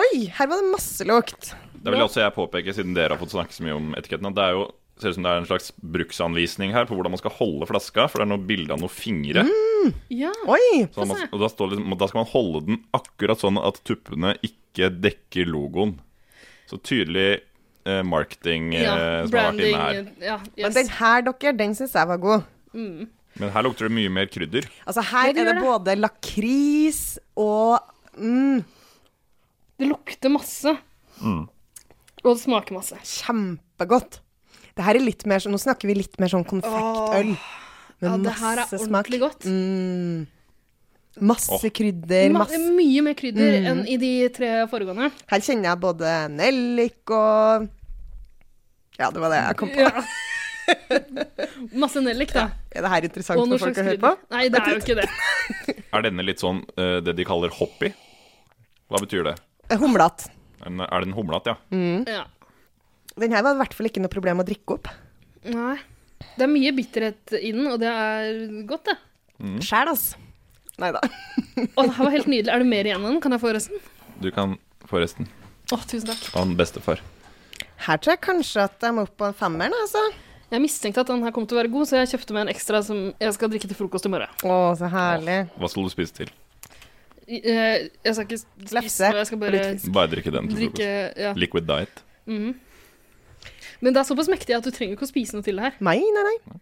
Speaker 2: Oi, her var det masse lukt.
Speaker 1: Det vil også jeg påpeke, siden dere har fått snakke så mye om etiketten, at det er jo ser ut som det er en slags bruksanvisning her på hvordan man skal holde flaska, for det er noe bilde av noen fingre.
Speaker 3: ja.
Speaker 2: Oi!
Speaker 1: Så man,
Speaker 3: få se.
Speaker 1: og da, står det liksom, da skal man holde den akkurat sånn at tuppene ikke dekker logoen. Så tydelig eh, marketing eh,
Speaker 3: ja.
Speaker 1: som har vært
Speaker 3: Branding. eh,
Speaker 1: inne her.
Speaker 3: Ja,
Speaker 2: Men
Speaker 3: yes.
Speaker 2: den her, dere, den syns jeg var god.
Speaker 1: Men her lukter det mye mer krydder.
Speaker 2: Altså, her
Speaker 3: Ja, det
Speaker 2: er det
Speaker 3: gjør
Speaker 2: både lakris og mm,
Speaker 3: Det lukter masse.
Speaker 1: Mm.
Speaker 3: Og det smaker masse.
Speaker 2: kjempegodt. Det her er litt mer sånn Nå snakker vi litt mer sånn konfektøl. Med
Speaker 3: Ja, det her er
Speaker 2: masse smak.
Speaker 3: ordentlig
Speaker 2: Mm.
Speaker 3: godt.
Speaker 2: Masse krydder.
Speaker 3: Mm. Ma
Speaker 2: Masse.
Speaker 3: mye mer krydder enn i de tre foregående.
Speaker 2: Her kjenner jeg både nellik og Ja, det var det jeg kom på.
Speaker 3: Ja. Masse nellik, da.
Speaker 2: Er det her interessant
Speaker 3: Og noe
Speaker 2: for folk
Speaker 3: slags
Speaker 2: å høre på?
Speaker 3: krydder. Nei, det er jo ikke det.
Speaker 1: Er denne litt sånn eh, det de kaller hoppy? Hva betyr det?
Speaker 2: Eh, Humlete.
Speaker 1: En- Er den humlete, ja?
Speaker 2: Mm.
Speaker 3: Ja.
Speaker 2: Den her var i hvert fall ikke noe problem å drikke opp.
Speaker 3: Nei. Det er mye bitterhet i den, og det er godt, det.
Speaker 1: Mm.
Speaker 2: Sjæl, altså. Nei da.
Speaker 3: Å, det her var helt nydelig. Er det mer igjen av den? Kan jeg få resten?
Speaker 1: Du kan få resten
Speaker 3: Å, tusen takk.
Speaker 1: av den bestefar.
Speaker 2: Her tror jeg kanskje at jeg må opp på en femmeren, altså.
Speaker 3: Jeg mistenkte at den her kom til å være god, så jeg kjøpte meg en ekstra som jeg skal drikke til frokost i morgen.
Speaker 2: Å, så herlig.
Speaker 1: Hva skal du spise til?
Speaker 3: I- eh, Jeg skal ikke spise
Speaker 2: Lefse
Speaker 3: noe, jeg skal
Speaker 2: og
Speaker 3: bare
Speaker 2: litt
Speaker 1: Bare drikke den til
Speaker 3: drikke
Speaker 1: frokost.
Speaker 3: ja. Mhm.
Speaker 1: Liquid diet.
Speaker 3: Men det er såpass mektig at du trenger ikke å spise noe til det her.
Speaker 2: Nei, nei, nei.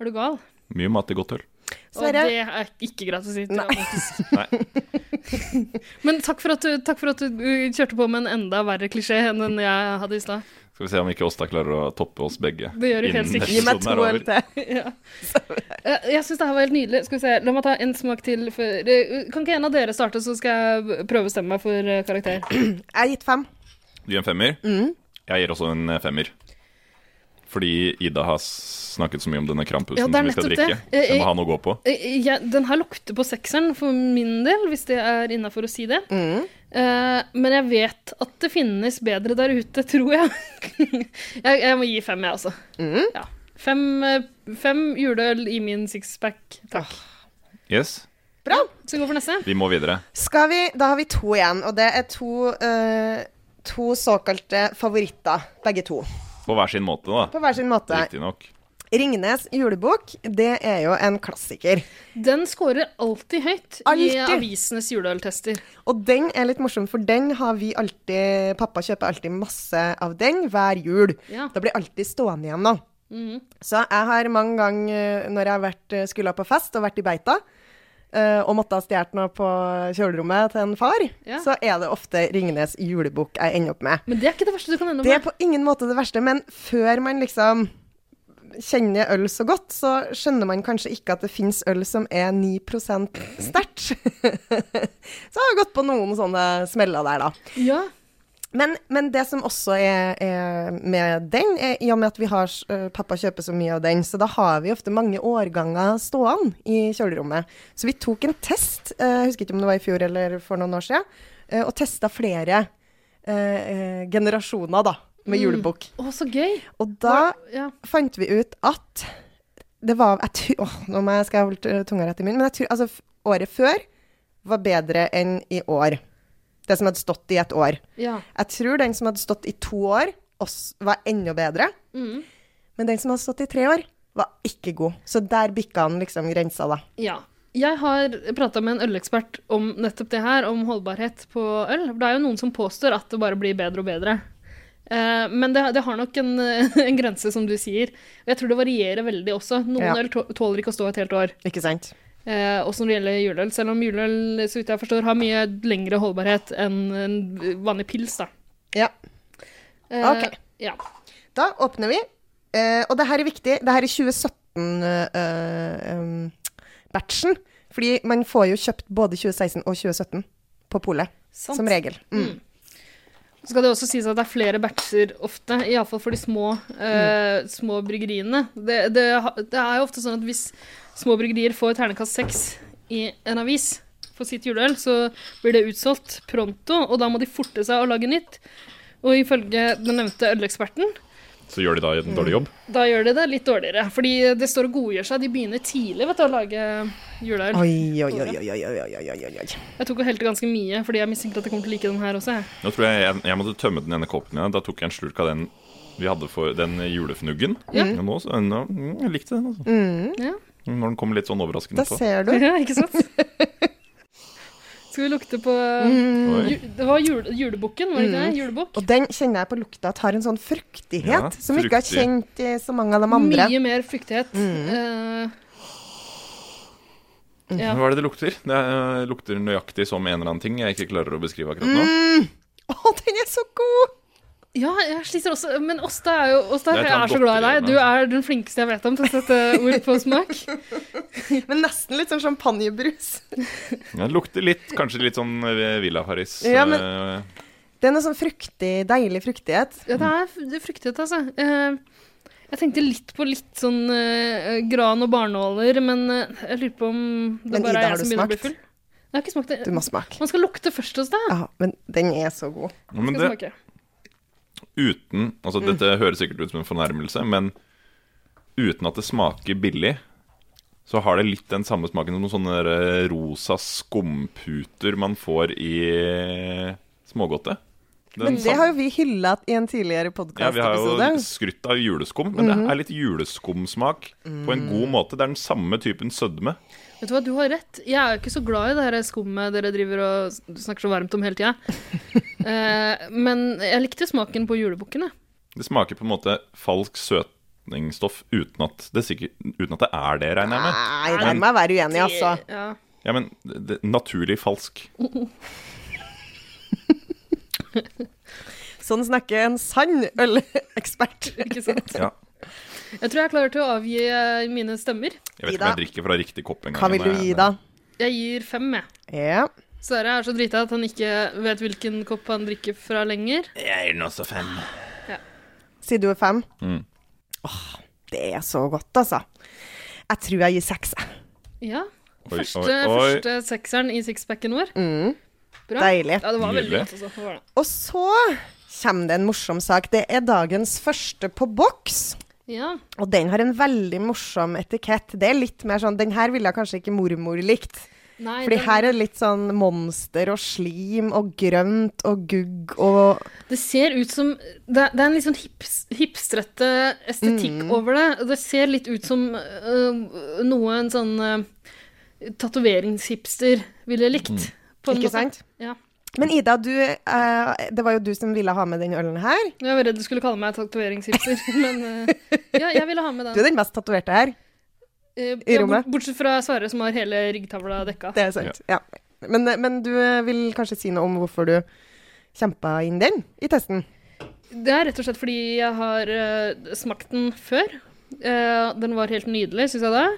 Speaker 3: Er du gal?
Speaker 1: Mye mat i godt øl.
Speaker 3: Og
Speaker 2: Sverre.
Speaker 3: det er ikke greit å si til
Speaker 2: Nei.
Speaker 3: alle.
Speaker 1: Nei.
Speaker 3: Men takk for, at du, takk for at du uh, kjørte på med en enda verre klisjé enn den jeg hadde i stad.
Speaker 1: Skal vi se om ikke Åsta klarer å toppe oss begge.
Speaker 3: Det gjør du helt
Speaker 1: innen
Speaker 3: sikkert.
Speaker 1: neste
Speaker 2: Gi meg
Speaker 1: episoden
Speaker 2: to
Speaker 1: er over.
Speaker 2: øl til.
Speaker 3: Ja. Eh, Jeg syns det her var helt nydelig. Skal vi se, La meg ta en smak til før eh, Kan ikke en av dere starte, så skal jeg prøve å stemme meg for eh, karakter?
Speaker 2: Jeg har gitt fem.
Speaker 1: Du gir en femmer.
Speaker 3: Mm.
Speaker 1: Jeg gir også en eh, femmer. Fordi Ida har s- snakket så mye om denne krampusen
Speaker 3: Ja, det er
Speaker 1: som vi skal
Speaker 3: nettopp
Speaker 1: drikke.
Speaker 3: det. Eh,
Speaker 1: Jeg
Speaker 3: eh,
Speaker 1: må ha noe å gå på.
Speaker 3: Eh, Jeg, den her lukter på sekseren for min del, hvis det er innafor å si det.
Speaker 2: Mm.
Speaker 3: Eh, men jeg vet at det finnes bedre der ute, tror jeg. jeg, jeg må gi fem, jeg, altså. Ja. Fem, eh, fem juleøl i min sixpack. Takk.
Speaker 1: Yes,
Speaker 2: Bra.
Speaker 3: Så går vi for neste.
Speaker 1: vi må videre.
Speaker 2: Skal vi, da har vi to igjen, og det er to, eh, to såkalte favoritter, begge to.
Speaker 1: På hver sin måte, da.
Speaker 2: På hver sin måte.
Speaker 1: Riktignok.
Speaker 2: Ringnes julebok, det er jo en klassiker.
Speaker 3: Den scorer alltid høyt i
Speaker 2: Alltid.
Speaker 3: avisenes juleøltester.
Speaker 2: Og den er litt morsom, for den har vi alltid Pappa kjøper alltid masse av den hver jul.
Speaker 3: Ja. Mhm.
Speaker 2: Da blir alltid stående igjen nå. Så jeg har mange ganger eh, når jeg har vært, eh, skulle på fest og vært i beita, eh, og måtte ha stjålet noe på kjølerommet til en far,
Speaker 3: Ja.
Speaker 2: så er det ofte Ringenes julebok jeg ender opp med.
Speaker 3: Men det er ikke det verste du kan ende opp
Speaker 2: Det er
Speaker 3: med.
Speaker 2: på ingen måte det verste, men før man liksom kjenner øl så godt, så skjønner man kanskje ikke at det fins øl som er 9 sterkt. så jeg har gått på noen sånne smeller der, da.
Speaker 3: Ja.
Speaker 2: Men, men det som også er, er med den, er i og med at vi har, eh, pappa kjøper så mye av den, så da har vi ofte mange årganger stående i kjølerommet. Så vi tok en test, eh, jeg husker ikke om det var i fjor eller for noen år siden, eh, og testa flere eh, eh, generasjoner da, med julebukk.
Speaker 3: Å, så gøy.
Speaker 2: Og da
Speaker 3: ja.
Speaker 2: fant vi ut at det var jeg tror, åh, Nå må jeg, skal jeg holde eh, tunga rett i munnen. Men jeg tror altså, f- året før var bedre enn i år. Det som hadde stått i et år.
Speaker 3: ja.
Speaker 2: Jeg tror den som hadde stått i to år, oss- var enda bedre. Men den som hadde stått i tre år, var ikke god. Så der bikka han liksom grensa, da.
Speaker 3: Ja. Jeg har prata med en ølekspert om nettopp det her, om holdbarhet på øl. For det er jo noen som påstår at det bare blir bedre og bedre. Eh, men det, det har nok en, en grense, som du sier. Og jeg tror det varierer veldig også. Noen
Speaker 2: Ja.
Speaker 3: øl tå- tåler ikke å stå et helt år,
Speaker 2: Ikke sant?
Speaker 3: eh, også når det gjelder juleøl. Selv om juleøl, så vidt jeg forstår, har mye lengre holdbarhet enn en vanlig pils, da.
Speaker 2: Ja.
Speaker 3: Eh,
Speaker 2: Ok.
Speaker 3: Ja.
Speaker 2: Da åpner vi. Eh, og det her er viktig. Det her er eh, 2017-batchen. um, fordi man får jo kjøpt både 2016 og 2017 på polet,
Speaker 3: Sant.
Speaker 2: som regel. Mm.
Speaker 3: Så skal det også sies at det er flere batcher ofte, iallfall for de små,
Speaker 2: Mm.
Speaker 3: eh, små bryggeriene. Det, det, ha- det er jo ofte sånn at hvis små bryggerier får ternekast seks i en avis for sitt juleøl, så blir det utsolgt pronto, og da må de forte seg å lage nytt. Og ifølge den nevnte øleksperten
Speaker 1: Så gjør de da en dårlig jobb.
Speaker 3: Da gjør de det litt dårligere. Fordi det står og godgjør seg. De begynner tidlig vet du, å lage juleøl.
Speaker 2: Oi, oi, oi, oi, oi, oi, oi, oi, oi, oi.
Speaker 3: Jeg tok og helte ganske mye, fordi jeg mistenker at jeg kommer til å like den her også. jeg.
Speaker 1: Nå tror jeg, jeg jeg måtte tømme den ene kåpen igjen. Da tok jeg en slurk av den vi hadde for den julefnuggen.
Speaker 3: Ja.
Speaker 1: Men nå, så, nå, mm, jeg likte den, altså.
Speaker 3: Ja.
Speaker 1: Når den kom litt sånn overraskende
Speaker 2: Mm, Da
Speaker 1: på.
Speaker 2: ser du.
Speaker 3: ja, ikke sant? Skal vi lukte på
Speaker 1: Oi.
Speaker 3: ju, Det var jule, julebukken, var det ikke det? Julebukk.
Speaker 2: Mm. Og den kjenner jeg på lukta at har en sånn fruktighet
Speaker 1: Ja,
Speaker 2: som ikke har
Speaker 1: fruktig.
Speaker 2: kjent i så mange av de andre.
Speaker 3: Mye mer fruktighet.
Speaker 2: Mm.
Speaker 3: Eh, ja.
Speaker 1: Hva er det det lukter? Det eh, lukter nøyaktig som en eller annen ting jeg ikke klarer å beskrive akkurat
Speaker 3: Mm.
Speaker 1: nå.
Speaker 2: Mm. Å, den er så god!
Speaker 3: ja, jeg sliter også Men Åsta er jo Åsta,
Speaker 1: Jeg
Speaker 3: jeg,
Speaker 1: tar
Speaker 3: er så glad i deg. Du
Speaker 1: godteri,
Speaker 3: er den flinkeste jeg vet om til å sette ord på smak.
Speaker 2: Men nesten litt sånn champagnebrus.
Speaker 1: Det lukter litt, kanskje litt sånn eh, Villa Paris.
Speaker 2: Ja, men-
Speaker 1: eh,
Speaker 2: Det er noe sånn fruktig, deilig fruktighet.
Speaker 3: Ja, det er f- det er fruktighet, altså. Eh, jeg tenkte litt på litt sånn eh, gran og barnåler, men eh, jeg lurer på om det
Speaker 2: Men
Speaker 3: bare
Speaker 2: Ida,
Speaker 3: er
Speaker 2: har
Speaker 3: jeg
Speaker 2: du
Speaker 3: som begynner å bli
Speaker 2: smakt?
Speaker 3: full. Jeg har ikke smakt
Speaker 2: Du
Speaker 3: det.
Speaker 2: må smake.
Speaker 3: Man skal lukte først hos deg.
Speaker 2: Ja, men den er så god.
Speaker 1: men
Speaker 3: Skal
Speaker 1: det,
Speaker 3: smake.
Speaker 1: uten Altså,
Speaker 2: Mm.
Speaker 1: dette høres sikkert ut som en fornærmelse, men uten at det smaker billig, så har det litt den samme smaken som noen sånne der eh, rosa skumputer man får i smågodtet. Den
Speaker 2: Men det
Speaker 1: sam-
Speaker 2: har jo vi hylla i en tidligere
Speaker 1: ja, Vi har
Speaker 2: podkastepisode.
Speaker 1: jo skrytt av juleskum, men
Speaker 2: Mhm.
Speaker 1: det er litt juleskumsmak på en
Speaker 2: Mm.
Speaker 1: god måte. Det er den samme typen sødme.
Speaker 3: Vet du hva, du har rett. Jeg er jo ikke så glad i det her skummet dere driver og s- snakker så varmt om hele tida. Eh, men jeg likte smaken på julebukken, jeg.
Speaker 1: Det smaker på en måte falsk søtningsstoff uten at det, sikkert, uten at det er det, regner jeg med.
Speaker 2: Nei, der må jeg være uenig, altså.
Speaker 3: Ja.
Speaker 1: Ja, men det, det, naturlig falsk.
Speaker 2: Sånn snakker en sann ølekspert.
Speaker 3: Ikke sant?
Speaker 1: Ja.
Speaker 3: Jeg tror jeg er klar til å avgi eh, mine stemmer.
Speaker 1: Jeg vet ikke
Speaker 2: Ida.
Speaker 1: om jeg drikker fra riktig kopp engang.
Speaker 2: Hva vil du
Speaker 1: men-
Speaker 2: gi, da?
Speaker 3: Jeg gir fem, jeg.
Speaker 2: Ja.
Speaker 3: Sverre er så drita at han ikke vet hvilken kopp han drikker fra lenger.
Speaker 1: Jeg gir den også fem.
Speaker 2: Sier du er fem?
Speaker 1: Mm.
Speaker 2: Åh, det er så godt, altså. Jeg tror jeg gir seks. jeg.
Speaker 3: Ja.
Speaker 1: Oi,
Speaker 3: Første,
Speaker 1: oi, oi.
Speaker 3: første sekseren i sixpacken vår. Bra.
Speaker 2: Mm. Deilig.
Speaker 3: Ja, det var veldig
Speaker 1: Nydelig.
Speaker 3: godt. Også. Det var det.
Speaker 2: Og så kommer det en morsom sak. Det er dagens første på boks.
Speaker 3: Ja.
Speaker 2: Og den har en veldig morsom etikett. Det er litt mer sånn Den her ville kanskje ikke mormor likt.
Speaker 3: Nei,
Speaker 2: Fordi
Speaker 3: den-
Speaker 2: her er det litt sånn monster og slim og grønt og gugg og
Speaker 3: Det ser ut som Det, det er en litt sånn hips, hipstrette estetikk
Speaker 2: Mm.
Speaker 3: over det. og Det ser litt ut som øh, noe en sånn øh, tatoveringshipster ville likt.
Speaker 2: Mm.
Speaker 3: på en
Speaker 2: Ikke
Speaker 3: måte.
Speaker 2: sant?
Speaker 3: Ja.
Speaker 2: Men Ida, du, eh, det var jo du som ville ha med den ølen her.
Speaker 3: Jeg var redd du skulle kalle meg tatoveringshipster, men øh, ja, jeg ville ha med
Speaker 2: Du
Speaker 3: den.
Speaker 2: er den mest tatoverte her.
Speaker 3: Eh,
Speaker 2: i
Speaker 3: ja,
Speaker 2: rommet.
Speaker 3: bort- Bortsett fra Sverre, som har hele ryggtavla dekka.
Speaker 2: Det er sant. Ja. Men, men du eh, vil kanskje si noe om hvorfor du kjempa inn den i testen?
Speaker 3: Det er rett og slett fordi jeg har eh, smakt den før. Eh, den var helt nydelig, syns jeg da.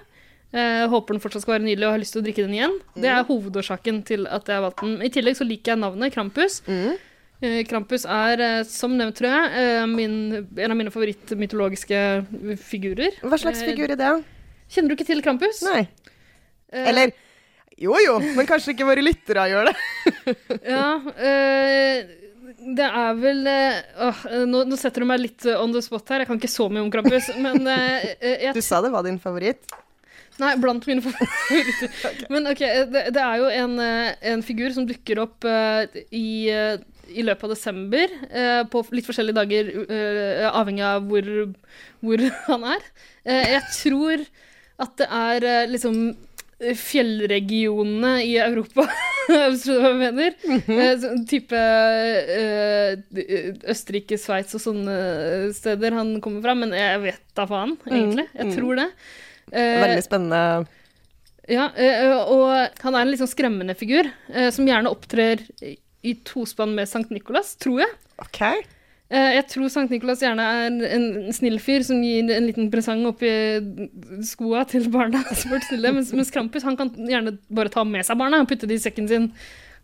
Speaker 3: Eh, håper den fortsatt skal være nydelig og har lyst til å drikke den igjen. Det
Speaker 2: Mm.
Speaker 3: er hovedårsaken til at jeg har valgt den. I tillegg så liker jeg navnet Krampus.
Speaker 2: Mm.
Speaker 3: Eh, Krampus er, eh, som nevnt, tror jeg, eh, min, en av mine favorittmytologiske figurer.
Speaker 2: Hva slags
Speaker 3: Eh,
Speaker 2: figur er det?
Speaker 3: Kjenner du ikke til Krampus?
Speaker 2: Nei.
Speaker 3: Eh,
Speaker 2: Eller jo jo, men kanskje ikke våre lyttere gjør det.
Speaker 3: Ja, eh, det er vel eh, åh, eh, nå, nå setter du meg litt eh, on the spot her. Jeg kan ikke så mye om Krampus, men eh, eh, jeg
Speaker 2: Du sa det var din favoritt.
Speaker 3: Nei, blant mine favoritter. Men ok, eh, det, det er jo en, eh, en figur som dukker opp eh, i, eh, i løpet av desember, eh, på litt forskjellige dager, eh, avhengig av hvor, hvor han er. Eh, jeg tror at det er eh, liksom eh, fjellregionene i Europa, hvis du skjønner hva jeg mener. Eh, sånn type eh, Østerrike, Sveits og sånne eh, steder han kommer fra, men jeg vet da faen, egentlig. Jeg tror det. Eh,
Speaker 2: Veldig spennende.
Speaker 3: ja, eh, og han er en litt sånn skremmende figur, eh, som gjerne opptrer i- i tospann med Sankt Nikolas, tror jeg.
Speaker 2: OK.
Speaker 3: Eh, Jeg tror Sankt Nikolas gjerne er en- en snill fyr som gir en liten presang oppi skoa til barna. som har vært snille, mens, mens Krampus han kan gjerne bare ta med seg barna og putte de i sekken sin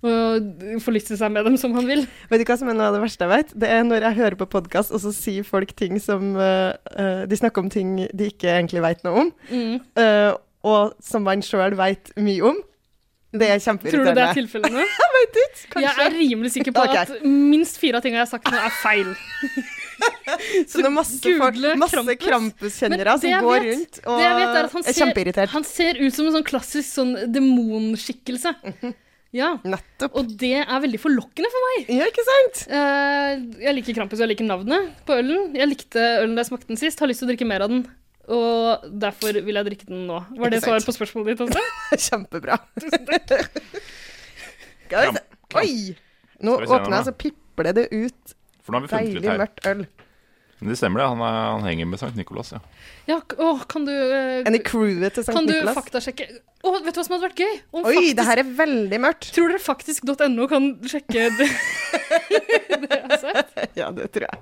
Speaker 3: og forlyste seg med dem som han vil.
Speaker 2: Vet du hva som er noe av det verste jeg vet? Det er når jeg hører på podkast, og så sier folk ting som eh, eh, De snakker om ting de ikke egentlig veit noe om,
Speaker 3: Mm.
Speaker 2: eh, og som man sjøl veit mye om. Det
Speaker 3: Tror du det er
Speaker 2: er kjempeirriterende.
Speaker 3: tilfellet nå?
Speaker 2: Jeg vet ikke.
Speaker 3: Jeg
Speaker 2: Kanskje.
Speaker 3: er rimelig sikker på
Speaker 2: Ok.
Speaker 3: at minst fire av tingene jeg har sagt nå, er feil.
Speaker 2: Så det er masse,
Speaker 3: gule
Speaker 2: folk, masse
Speaker 3: Krampus.
Speaker 2: Krampus-kjennere
Speaker 3: Men det jeg
Speaker 2: som går
Speaker 3: vet-
Speaker 2: rundt og
Speaker 3: det jeg vet er at han
Speaker 2: er
Speaker 3: ser-
Speaker 2: kjempeirritert.
Speaker 3: Han ser ut som en sånn klassisk sånn demonskikkelse. Ja.
Speaker 2: Nettopp.
Speaker 3: Og det er veldig forlokkende for meg.
Speaker 2: Ja, ikke sant?
Speaker 3: Eh, jeg liker Krampus, og jeg liker navnet på ølen. Jeg likte ølen da jeg smakte den sist, har lyst til å drikke mer av den. Og derfor vil jeg drikke den nå. Var det
Speaker 2: Ikke sant.
Speaker 3: svar på spørsmålet ditt også?
Speaker 2: Kjempebra. Skal vi se.
Speaker 1: Kramp, kramp.
Speaker 2: Oi! Nå
Speaker 1: Skal vi se
Speaker 2: åpner jeg,
Speaker 1: nå.
Speaker 2: så pipler det ut
Speaker 1: For nå har vi funnet litt
Speaker 2: deilig
Speaker 1: her.
Speaker 2: mørkt øl.
Speaker 1: Men det stemmer, det. Han, er, han henger med Sankt Nikolas, ja.
Speaker 3: Ja, k- åh, kan du eh,
Speaker 2: En i crewet til St.
Speaker 3: Kan du
Speaker 2: Nicholas.
Speaker 3: faktasjekke Åh, vet du hva som hadde vært gøy? Om
Speaker 2: Oi,
Speaker 3: faktisk-
Speaker 2: det her er veldig mørkt.
Speaker 3: Tror dere faktisk.no kan sjekke det? det altså- jeg har sett?
Speaker 2: Ja, det tror jeg.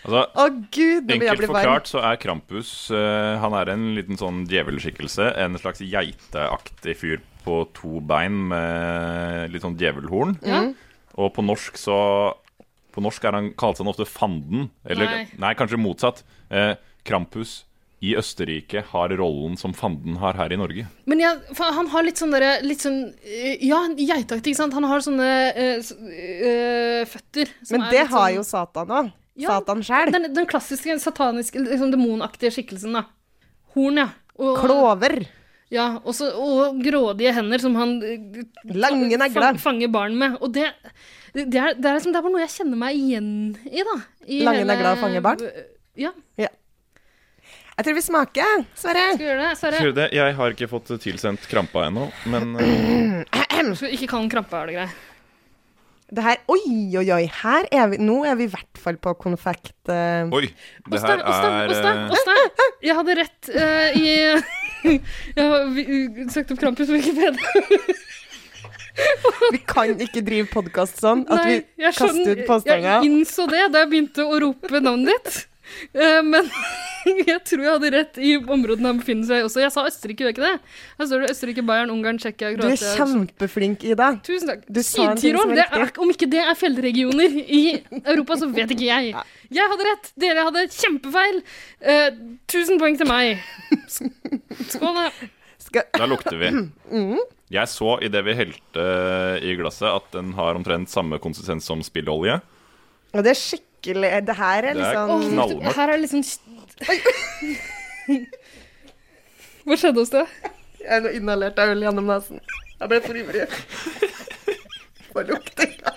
Speaker 1: Altså,
Speaker 2: Å gud, nå blir jeg
Speaker 1: Enkelt
Speaker 2: bli varm.
Speaker 1: forklart så er Krampus eh, Han er en liten sånn djevelskikkelse. En slags geiteaktig fyr på to bein med litt sånn djevelhorn.
Speaker 2: Mm.
Speaker 3: Ja.
Speaker 1: Og på norsk så På norsk er han, kalles han ofte Fanden. Eller
Speaker 3: Nei.
Speaker 1: nei, kanskje motsatt. Eh, Krampus i Østerrike har rollen som Fanden har her i Norge.
Speaker 3: Men jeg, for han har litt sånn derre litt sånn, eh, Ja, geitaktig, ikke sant? Han har sånne eh, s- eh, føtter som
Speaker 2: Men
Speaker 3: er
Speaker 2: det
Speaker 3: litt
Speaker 2: har
Speaker 3: sånn-
Speaker 2: jo Satan òg.
Speaker 3: Ja.
Speaker 2: Satan sjæl.
Speaker 3: den, den klassiske sataniske, liksom demonaktige skikkelsen, da. Horn, ja. Og,
Speaker 2: Klover.
Speaker 3: Ja, og, så, og grådige hender som han eh,
Speaker 2: Lange negler.
Speaker 3: fang- fanger barn med. Og det, det, er, det, er liksom, det er bare noe jeg kjenner meg igjen i, da. I
Speaker 2: Lange negler og fange barn?
Speaker 3: Ja.
Speaker 2: Jeg tror vi smaker, Sverre.
Speaker 3: Skal vi gjøre det? Sverre,
Speaker 1: Kyrde, jeg har ikke fått tilsendt krampa ennå, men eh,
Speaker 3: skal vi ikke kall den krampe, er det greit?
Speaker 2: Det her Oi, oi, oi. Her er vi Nå er vi i hvert fall på konfekt. eh,
Speaker 1: Oi! Det
Speaker 3: Åsta,
Speaker 1: her
Speaker 3: Åsta,
Speaker 1: er
Speaker 3: Åsta,
Speaker 1: eh,
Speaker 3: Åsta! Jeg hadde rett eh, i Jeg har vi- søkt opp Krampus på Wikipedia.
Speaker 2: Vi kan ikke drive podkast sånn at
Speaker 3: Nei,
Speaker 2: vi
Speaker 3: jeg
Speaker 2: kaster ut
Speaker 3: skjønner-
Speaker 2: påstander.
Speaker 3: Jeg innså det da jeg begynte å rope navnet ditt. Eh, men jeg tror jeg hadde rett i områdene han befinner seg i også. Jeg sa Østerrike, gjør jeg ikke det? Her står det Østerrike, Bayern, Ungarn, Tsjekkia,
Speaker 2: Du er
Speaker 3: Kroatia
Speaker 2: kjempeflink, Ida.
Speaker 3: Tusen takk.
Speaker 2: Du sa en ting som
Speaker 3: Syd-Tirol,
Speaker 2: var
Speaker 3: det er- om ikke det er fjellregioner i Europa, så vet ikke jeg. Jeg hadde rett, dere hadde kjempefeil. Eh, tusen poeng til meg. Skål, da.
Speaker 2: Skal,
Speaker 1: Da lukter vi.
Speaker 2: Mm.
Speaker 1: Jeg så idet vi helte eh, i glasset at den har omtrent samme konsistens som spillolje.
Speaker 2: og det er skikkelig Det her er
Speaker 1: Det er
Speaker 2: liksom
Speaker 1: knall-
Speaker 3: Åh,
Speaker 1: Knallmørkt.
Speaker 3: her er det liksom Hva skjedde hos deg?
Speaker 2: Jeg er nå inhalert av øl gjennom nesen. Jeg ble for ivrig. For luktinga.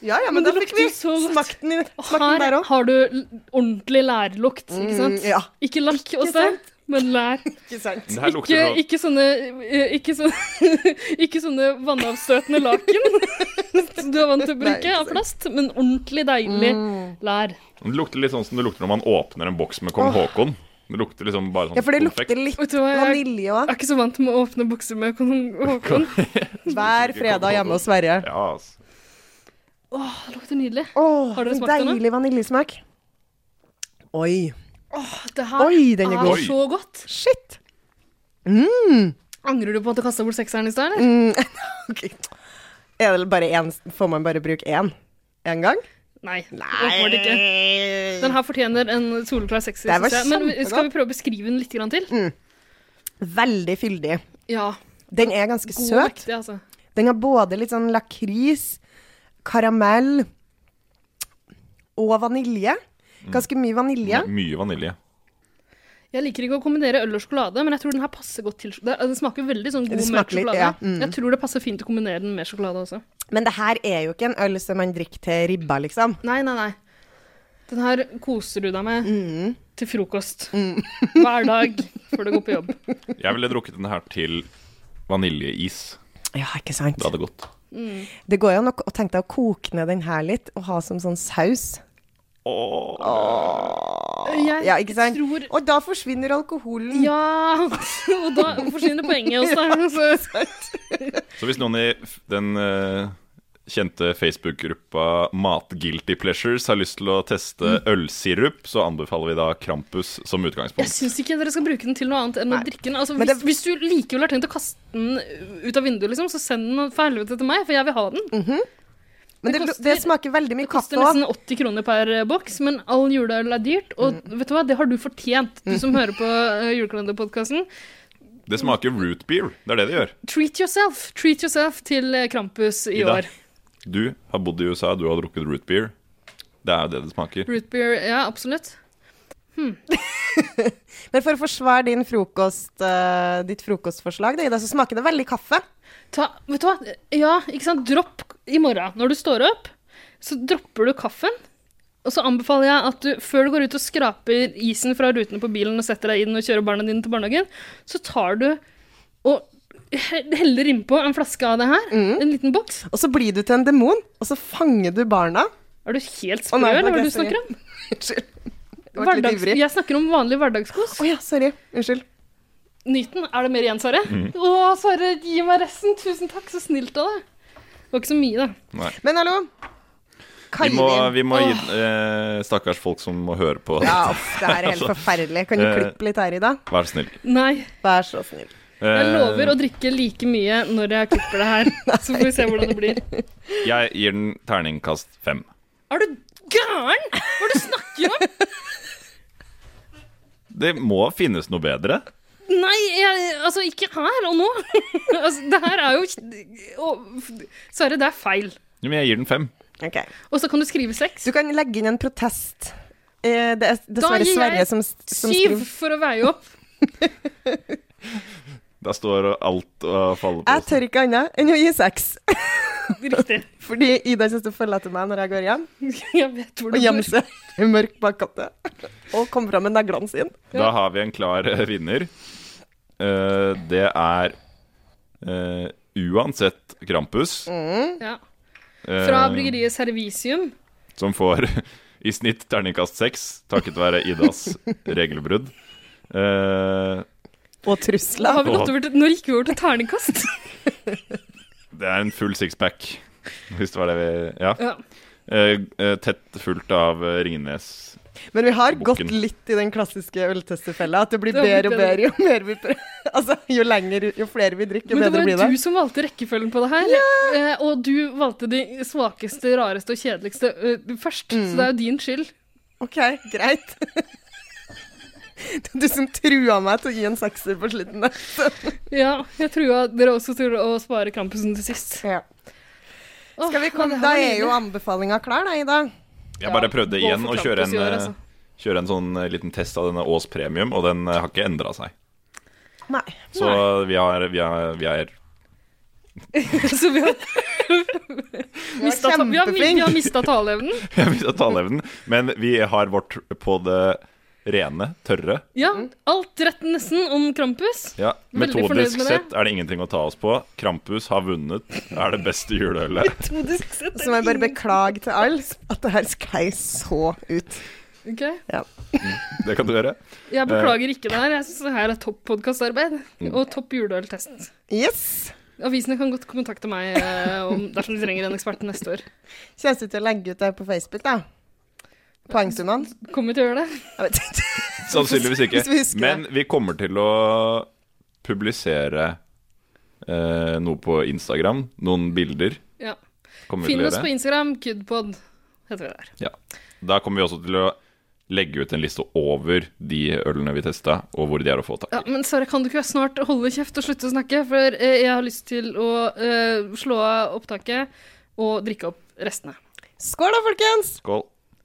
Speaker 2: Ja, ja, men,
Speaker 3: Men det
Speaker 2: da fikk
Speaker 3: lukter
Speaker 2: vi
Speaker 3: jo så godt.
Speaker 2: smakt den, i- smakt den der
Speaker 3: Her
Speaker 2: òg.
Speaker 3: har du l- ordentlig lærlukt, ikke sant?
Speaker 2: Mm, ja.
Speaker 3: Ikke lakk hos deg,
Speaker 2: sant?
Speaker 3: men lær.
Speaker 2: Ikke sant?
Speaker 1: Det her
Speaker 3: Ikke,
Speaker 1: lukter så
Speaker 3: ikke sånne eh, Ikke sånne, ikke sånne vannavstøtende laken som du er vant til å
Speaker 2: Nei,
Speaker 3: bruke
Speaker 2: ikke
Speaker 3: av
Speaker 2: Mm.
Speaker 3: plast, men ordentlig deilig lær.
Speaker 1: Det lukter litt sånn som det lukter når man åpner en boks med kong
Speaker 2: Åh.
Speaker 1: Haakon. Det lukter liksom bare sånn
Speaker 2: Ja, for det
Speaker 1: konfekt.
Speaker 2: lukter litt
Speaker 3: Vet du hva, jeg
Speaker 2: vanilje òg.
Speaker 3: er ikke så vant med å åpne bukser med kong Håkon.
Speaker 2: Hver fredag hjemme hos Sverre.
Speaker 1: Ja, altså.
Speaker 3: Åh, det lukter nydelig.
Speaker 2: Åh,
Speaker 3: Har dere
Speaker 2: en
Speaker 3: smakt den, da?
Speaker 2: deilig vaniljesmak. Oi.
Speaker 3: Det her
Speaker 2: Oi, den er
Speaker 3: er
Speaker 2: god.
Speaker 3: så godt.
Speaker 2: Shit.
Speaker 3: Angrer du på at du kasta bort sekseren i stad, eller?
Speaker 2: Ok. Er det bare én Får man bare bruke én? Én gang?
Speaker 3: Nei. Åpenbart ikke. Den her fortjener en soleklar sekser,
Speaker 2: Det var
Speaker 3: synes jeg. Men vi-
Speaker 2: kjempegodt.
Speaker 3: skal vi prøve å beskrive den litt grann til?
Speaker 2: Mm. Veldig fyldig.
Speaker 3: Ja.
Speaker 2: Den er ganske
Speaker 3: God
Speaker 2: søt.
Speaker 3: mektig, altså.
Speaker 2: Den har både litt sånn lakris, karamell og vanilje. Ganske mye vanilje.
Speaker 1: Mye vanilje.
Speaker 3: Jeg liker ikke å kombinere øl og sjokolade, men jeg tror den her passer godt til sjokolade. Den smaker veldig sånn god
Speaker 2: Det
Speaker 3: mørk
Speaker 2: smaker litt,
Speaker 3: sjokolade.
Speaker 2: ja, mm.
Speaker 3: Jeg tror det passer fint å kombinere den med sjokolade også.
Speaker 2: Men det her er jo ikke en øl som man drikker til ribba, liksom.
Speaker 3: Nei, nei, nei. Den her koser du deg med
Speaker 2: Mm.
Speaker 3: til frokost. Hver dag før du går på jobb.
Speaker 1: Jeg ville drukket den her til vaniljeis.
Speaker 2: Ja, ikke sant.
Speaker 1: Det hadde gått.
Speaker 2: Det går jo nok å tenke deg å koke ned den her litt og ha som sånn saus.
Speaker 1: Åh.
Speaker 3: Jeg
Speaker 2: Ja, ikke sant?
Speaker 3: tror
Speaker 2: Og da forsvinner alkoholen.
Speaker 3: Ja! Og da forsvinner poenget hos deg. Så-
Speaker 1: Så hvis noen i f- den eh, kjente Facebook-gruppa Matguilty Pleasures har lyst til å teste
Speaker 2: Mm.
Speaker 1: ølsirup, så anbefaler vi da Krampus som
Speaker 3: Jeg
Speaker 1: utgangspunkt.
Speaker 3: syns ikke dere skal bruke den til noe annet enn å drikke den. Altså,
Speaker 2: Men
Speaker 3: hvis,
Speaker 2: det-
Speaker 3: hvis du likevel har tenkt å kaste den ut av vinduet, liksom, så send den for helvete til meg, for jeg vil ha den.
Speaker 2: Mm. Men
Speaker 3: det
Speaker 2: det,
Speaker 3: koster-
Speaker 2: det smaker veldig mye
Speaker 3: Det koster
Speaker 2: kaffe òg.
Speaker 3: nesten 80 kroner per eh, boks, men all juleøl er dyrt. Og
Speaker 2: Mm.
Speaker 3: vet du hva, det har du fortjent, du som hører på eh, julekalenderpodkasten.
Speaker 1: Det smaker root beer. Det er det det gjør.
Speaker 3: Treat yourself treat yourself til eh, Krampus i
Speaker 1: Ida.
Speaker 3: år.
Speaker 1: Du har bodd i USA, du har drukket root beer. Det er jo det det smaker.
Speaker 3: Root beer, ja, absolutt.
Speaker 2: Men for å forsvare din frokost, eh, ditt frokostforslag, det, Ida, så smaker det veldig kaffe.
Speaker 3: Ta, vet du hva? Ja, ikke sant? Dropp i morgen. Når du står opp, så dropper du kaffen. Og så anbefaler jeg at du, før du går ut og skraper isen fra rutene på bilen og setter deg inn og kjører barna dine til barnehagen, så tar du og he- heller innpå en flaske av det her.
Speaker 2: Mm.
Speaker 3: En liten boks.
Speaker 2: Og så blir du til en demon, og så fanger du barna.
Speaker 3: Er du helt
Speaker 2: Å
Speaker 3: sprø,
Speaker 2: nei,
Speaker 3: eller hva er det du
Speaker 2: jeg
Speaker 3: snakker om?
Speaker 2: Unnskyld. Jeg ble litt
Speaker 3: Hverdags,
Speaker 2: ivrig.
Speaker 3: jeg snakker om vanlig hverdagskos.
Speaker 2: Å ja, sorry. Unnskyld.
Speaker 3: Nyt den. Er det mer igjen, Sverre? Å, Sverre, gi meg resten. Tusen takk, så snilt av deg. Det var ikke så mye, da.
Speaker 1: Nei.
Speaker 2: Men hallo.
Speaker 1: Vi må,
Speaker 2: Kaivin.
Speaker 1: vi må gi eh, stakkars folk som må høre på.
Speaker 2: Ja, uff, det her er helt forferdelig. Kan du
Speaker 1: Eh.
Speaker 2: klippe litt her, Ida?
Speaker 1: Vær snill. Eh,
Speaker 3: Nei.
Speaker 2: Vær så snill. Eh.
Speaker 3: Jeg lover å drikke like mye når jeg klipper det her. Så får vi se hvordan det blir.
Speaker 1: Jeg gir den terningkast fem.
Speaker 3: Er du gæren? Hva er det du snakker om?
Speaker 1: Det må finnes noe bedre.
Speaker 3: Nei, jeg, altså ikke her og nå. Altså, det her er jo å, Sverre, det er feil.
Speaker 1: Jo, Men jeg gir den fem.
Speaker 2: Ok.
Speaker 3: Og så kan du skrive seks.
Speaker 2: Du kan legge inn en protest. Eh, Det er
Speaker 3: Da
Speaker 2: dessverre
Speaker 3: gir
Speaker 2: Sverre
Speaker 3: jeg
Speaker 2: som,
Speaker 3: Syv
Speaker 2: som skriver.
Speaker 3: for å veie opp.
Speaker 1: Da står alt og faller på
Speaker 2: Jeg tør ikke annet enn å gi seks.
Speaker 3: Riktig.
Speaker 2: Fordi Ida kommer til å følge etter meg når jeg går hjem,
Speaker 3: Jeg vet hvor
Speaker 2: og
Speaker 3: du
Speaker 2: gjemme
Speaker 3: bor.
Speaker 2: seg i mørk bakgate. Og komme fram med neglene sine.
Speaker 1: Da har vi en klar eh, vinner. Eh, det er eh, uansett Krampus.
Speaker 3: Ja.
Speaker 1: eh,
Speaker 3: Mm. Fra bryggeriet Servicium.
Speaker 1: Som får i snitt terningkast seks, takket være Idas regelbrudd. Eh,
Speaker 2: Og
Speaker 3: Da
Speaker 2: trusler.
Speaker 3: har vi gått over til, nå gikk vi over til terningkast.
Speaker 1: det er en full sixpack, hvis det var det vi Ja.
Speaker 3: Ja.
Speaker 1: Eh, eh, tett fulgt av eh, Ringnes.
Speaker 2: Men vi har gått
Speaker 1: Bukken.
Speaker 2: litt i den klassiske øltestefella. At det blir
Speaker 3: Det har blitt
Speaker 2: bedre og bedre jo mer vi prøver. Altså, jo lenger, jo flere vi drikker, jo
Speaker 3: Men det
Speaker 2: bedre
Speaker 3: var
Speaker 2: blir
Speaker 3: jo du
Speaker 2: det.
Speaker 3: som valgte rekkefølgen på det her. Eh, og du valgte de svakeste, rareste og kjedeligste eh, først.
Speaker 2: Mm.
Speaker 3: Så det er jo din skyld.
Speaker 2: OK, greit. Det er Du som trua meg til å gi en sekser på slutten der.
Speaker 3: Ja, jeg trua dere også til å spare Krampusen til sist.
Speaker 2: Ja.
Speaker 3: Åh,
Speaker 2: Skal vi
Speaker 3: ja,
Speaker 2: komme,
Speaker 3: det her
Speaker 2: da
Speaker 3: var
Speaker 2: er jo
Speaker 3: nydelig.
Speaker 2: anbefalinga klar, da, Ida.
Speaker 1: Jeg bare prøvde
Speaker 3: gå
Speaker 1: igjen
Speaker 3: for
Speaker 1: å kjøre
Speaker 3: Krampus
Speaker 1: en,
Speaker 3: i år,
Speaker 1: eh,
Speaker 3: altså.
Speaker 1: kjøre en sånn eh, liten test av denne Aas Premium, og den eh, har ikke endra seg.
Speaker 2: Nei.
Speaker 1: Så vi har, vi har, vi har
Speaker 3: Så vi har mista ta- vi har-
Speaker 2: kjempeflink.
Speaker 3: vi har mista taleevnen.
Speaker 1: Jeg vil ta taleevnen, men vi har vårt på det rene, tørre.
Speaker 3: Ja,
Speaker 2: Mm.
Speaker 3: alt rett nesten om Krampus.
Speaker 1: Ja,
Speaker 3: Veldig fornøyd med
Speaker 1: Metodisk
Speaker 3: det.
Speaker 1: sett er det ingenting å ta oss på. Krampus har vunnet, er det beste juleølet.
Speaker 3: Metodisk sett.
Speaker 2: Så må jeg bare beklage til alle at det her sklei så ut.
Speaker 3: Ok.
Speaker 1: Det kan du gjøre.
Speaker 3: Jeg beklager ikke det her. Jeg syns det her er topp podkastarbeid.
Speaker 1: Mm.
Speaker 3: Og topp juleøltest.
Speaker 2: Yes.
Speaker 3: Avisene kan godt kontakte meg eh, om, dersom de trenger en ekspert neste år.
Speaker 2: Kjennes det til å legge ut det på Facebook, da? Poengsummene?
Speaker 3: Kommer til å gjøre det.
Speaker 2: Jeg vet ikke.
Speaker 1: Sannsynligvis ikke.
Speaker 2: Hvis vi husker det.
Speaker 1: Men vi kommer til å publisere eh, noe på Instagram. Noen bilder.
Speaker 3: Ja.
Speaker 1: Kommer vi
Speaker 3: Finn
Speaker 1: til å
Speaker 3: oss på
Speaker 1: gjøre.
Speaker 3: Instagram, kudpod heter vi der.
Speaker 1: Ja. Da kommer vi også til å legge ut en liste over de ølene vi testa, og hvor de er å få tak
Speaker 3: Ja,
Speaker 1: i.
Speaker 3: men Sara, kan du ikke snart holde kjeft og slutte å snakke? For eh, jeg har lyst til å eh, slå av opptaket og drikke opp restene.
Speaker 2: Skål da, folkens!
Speaker 1: Skål.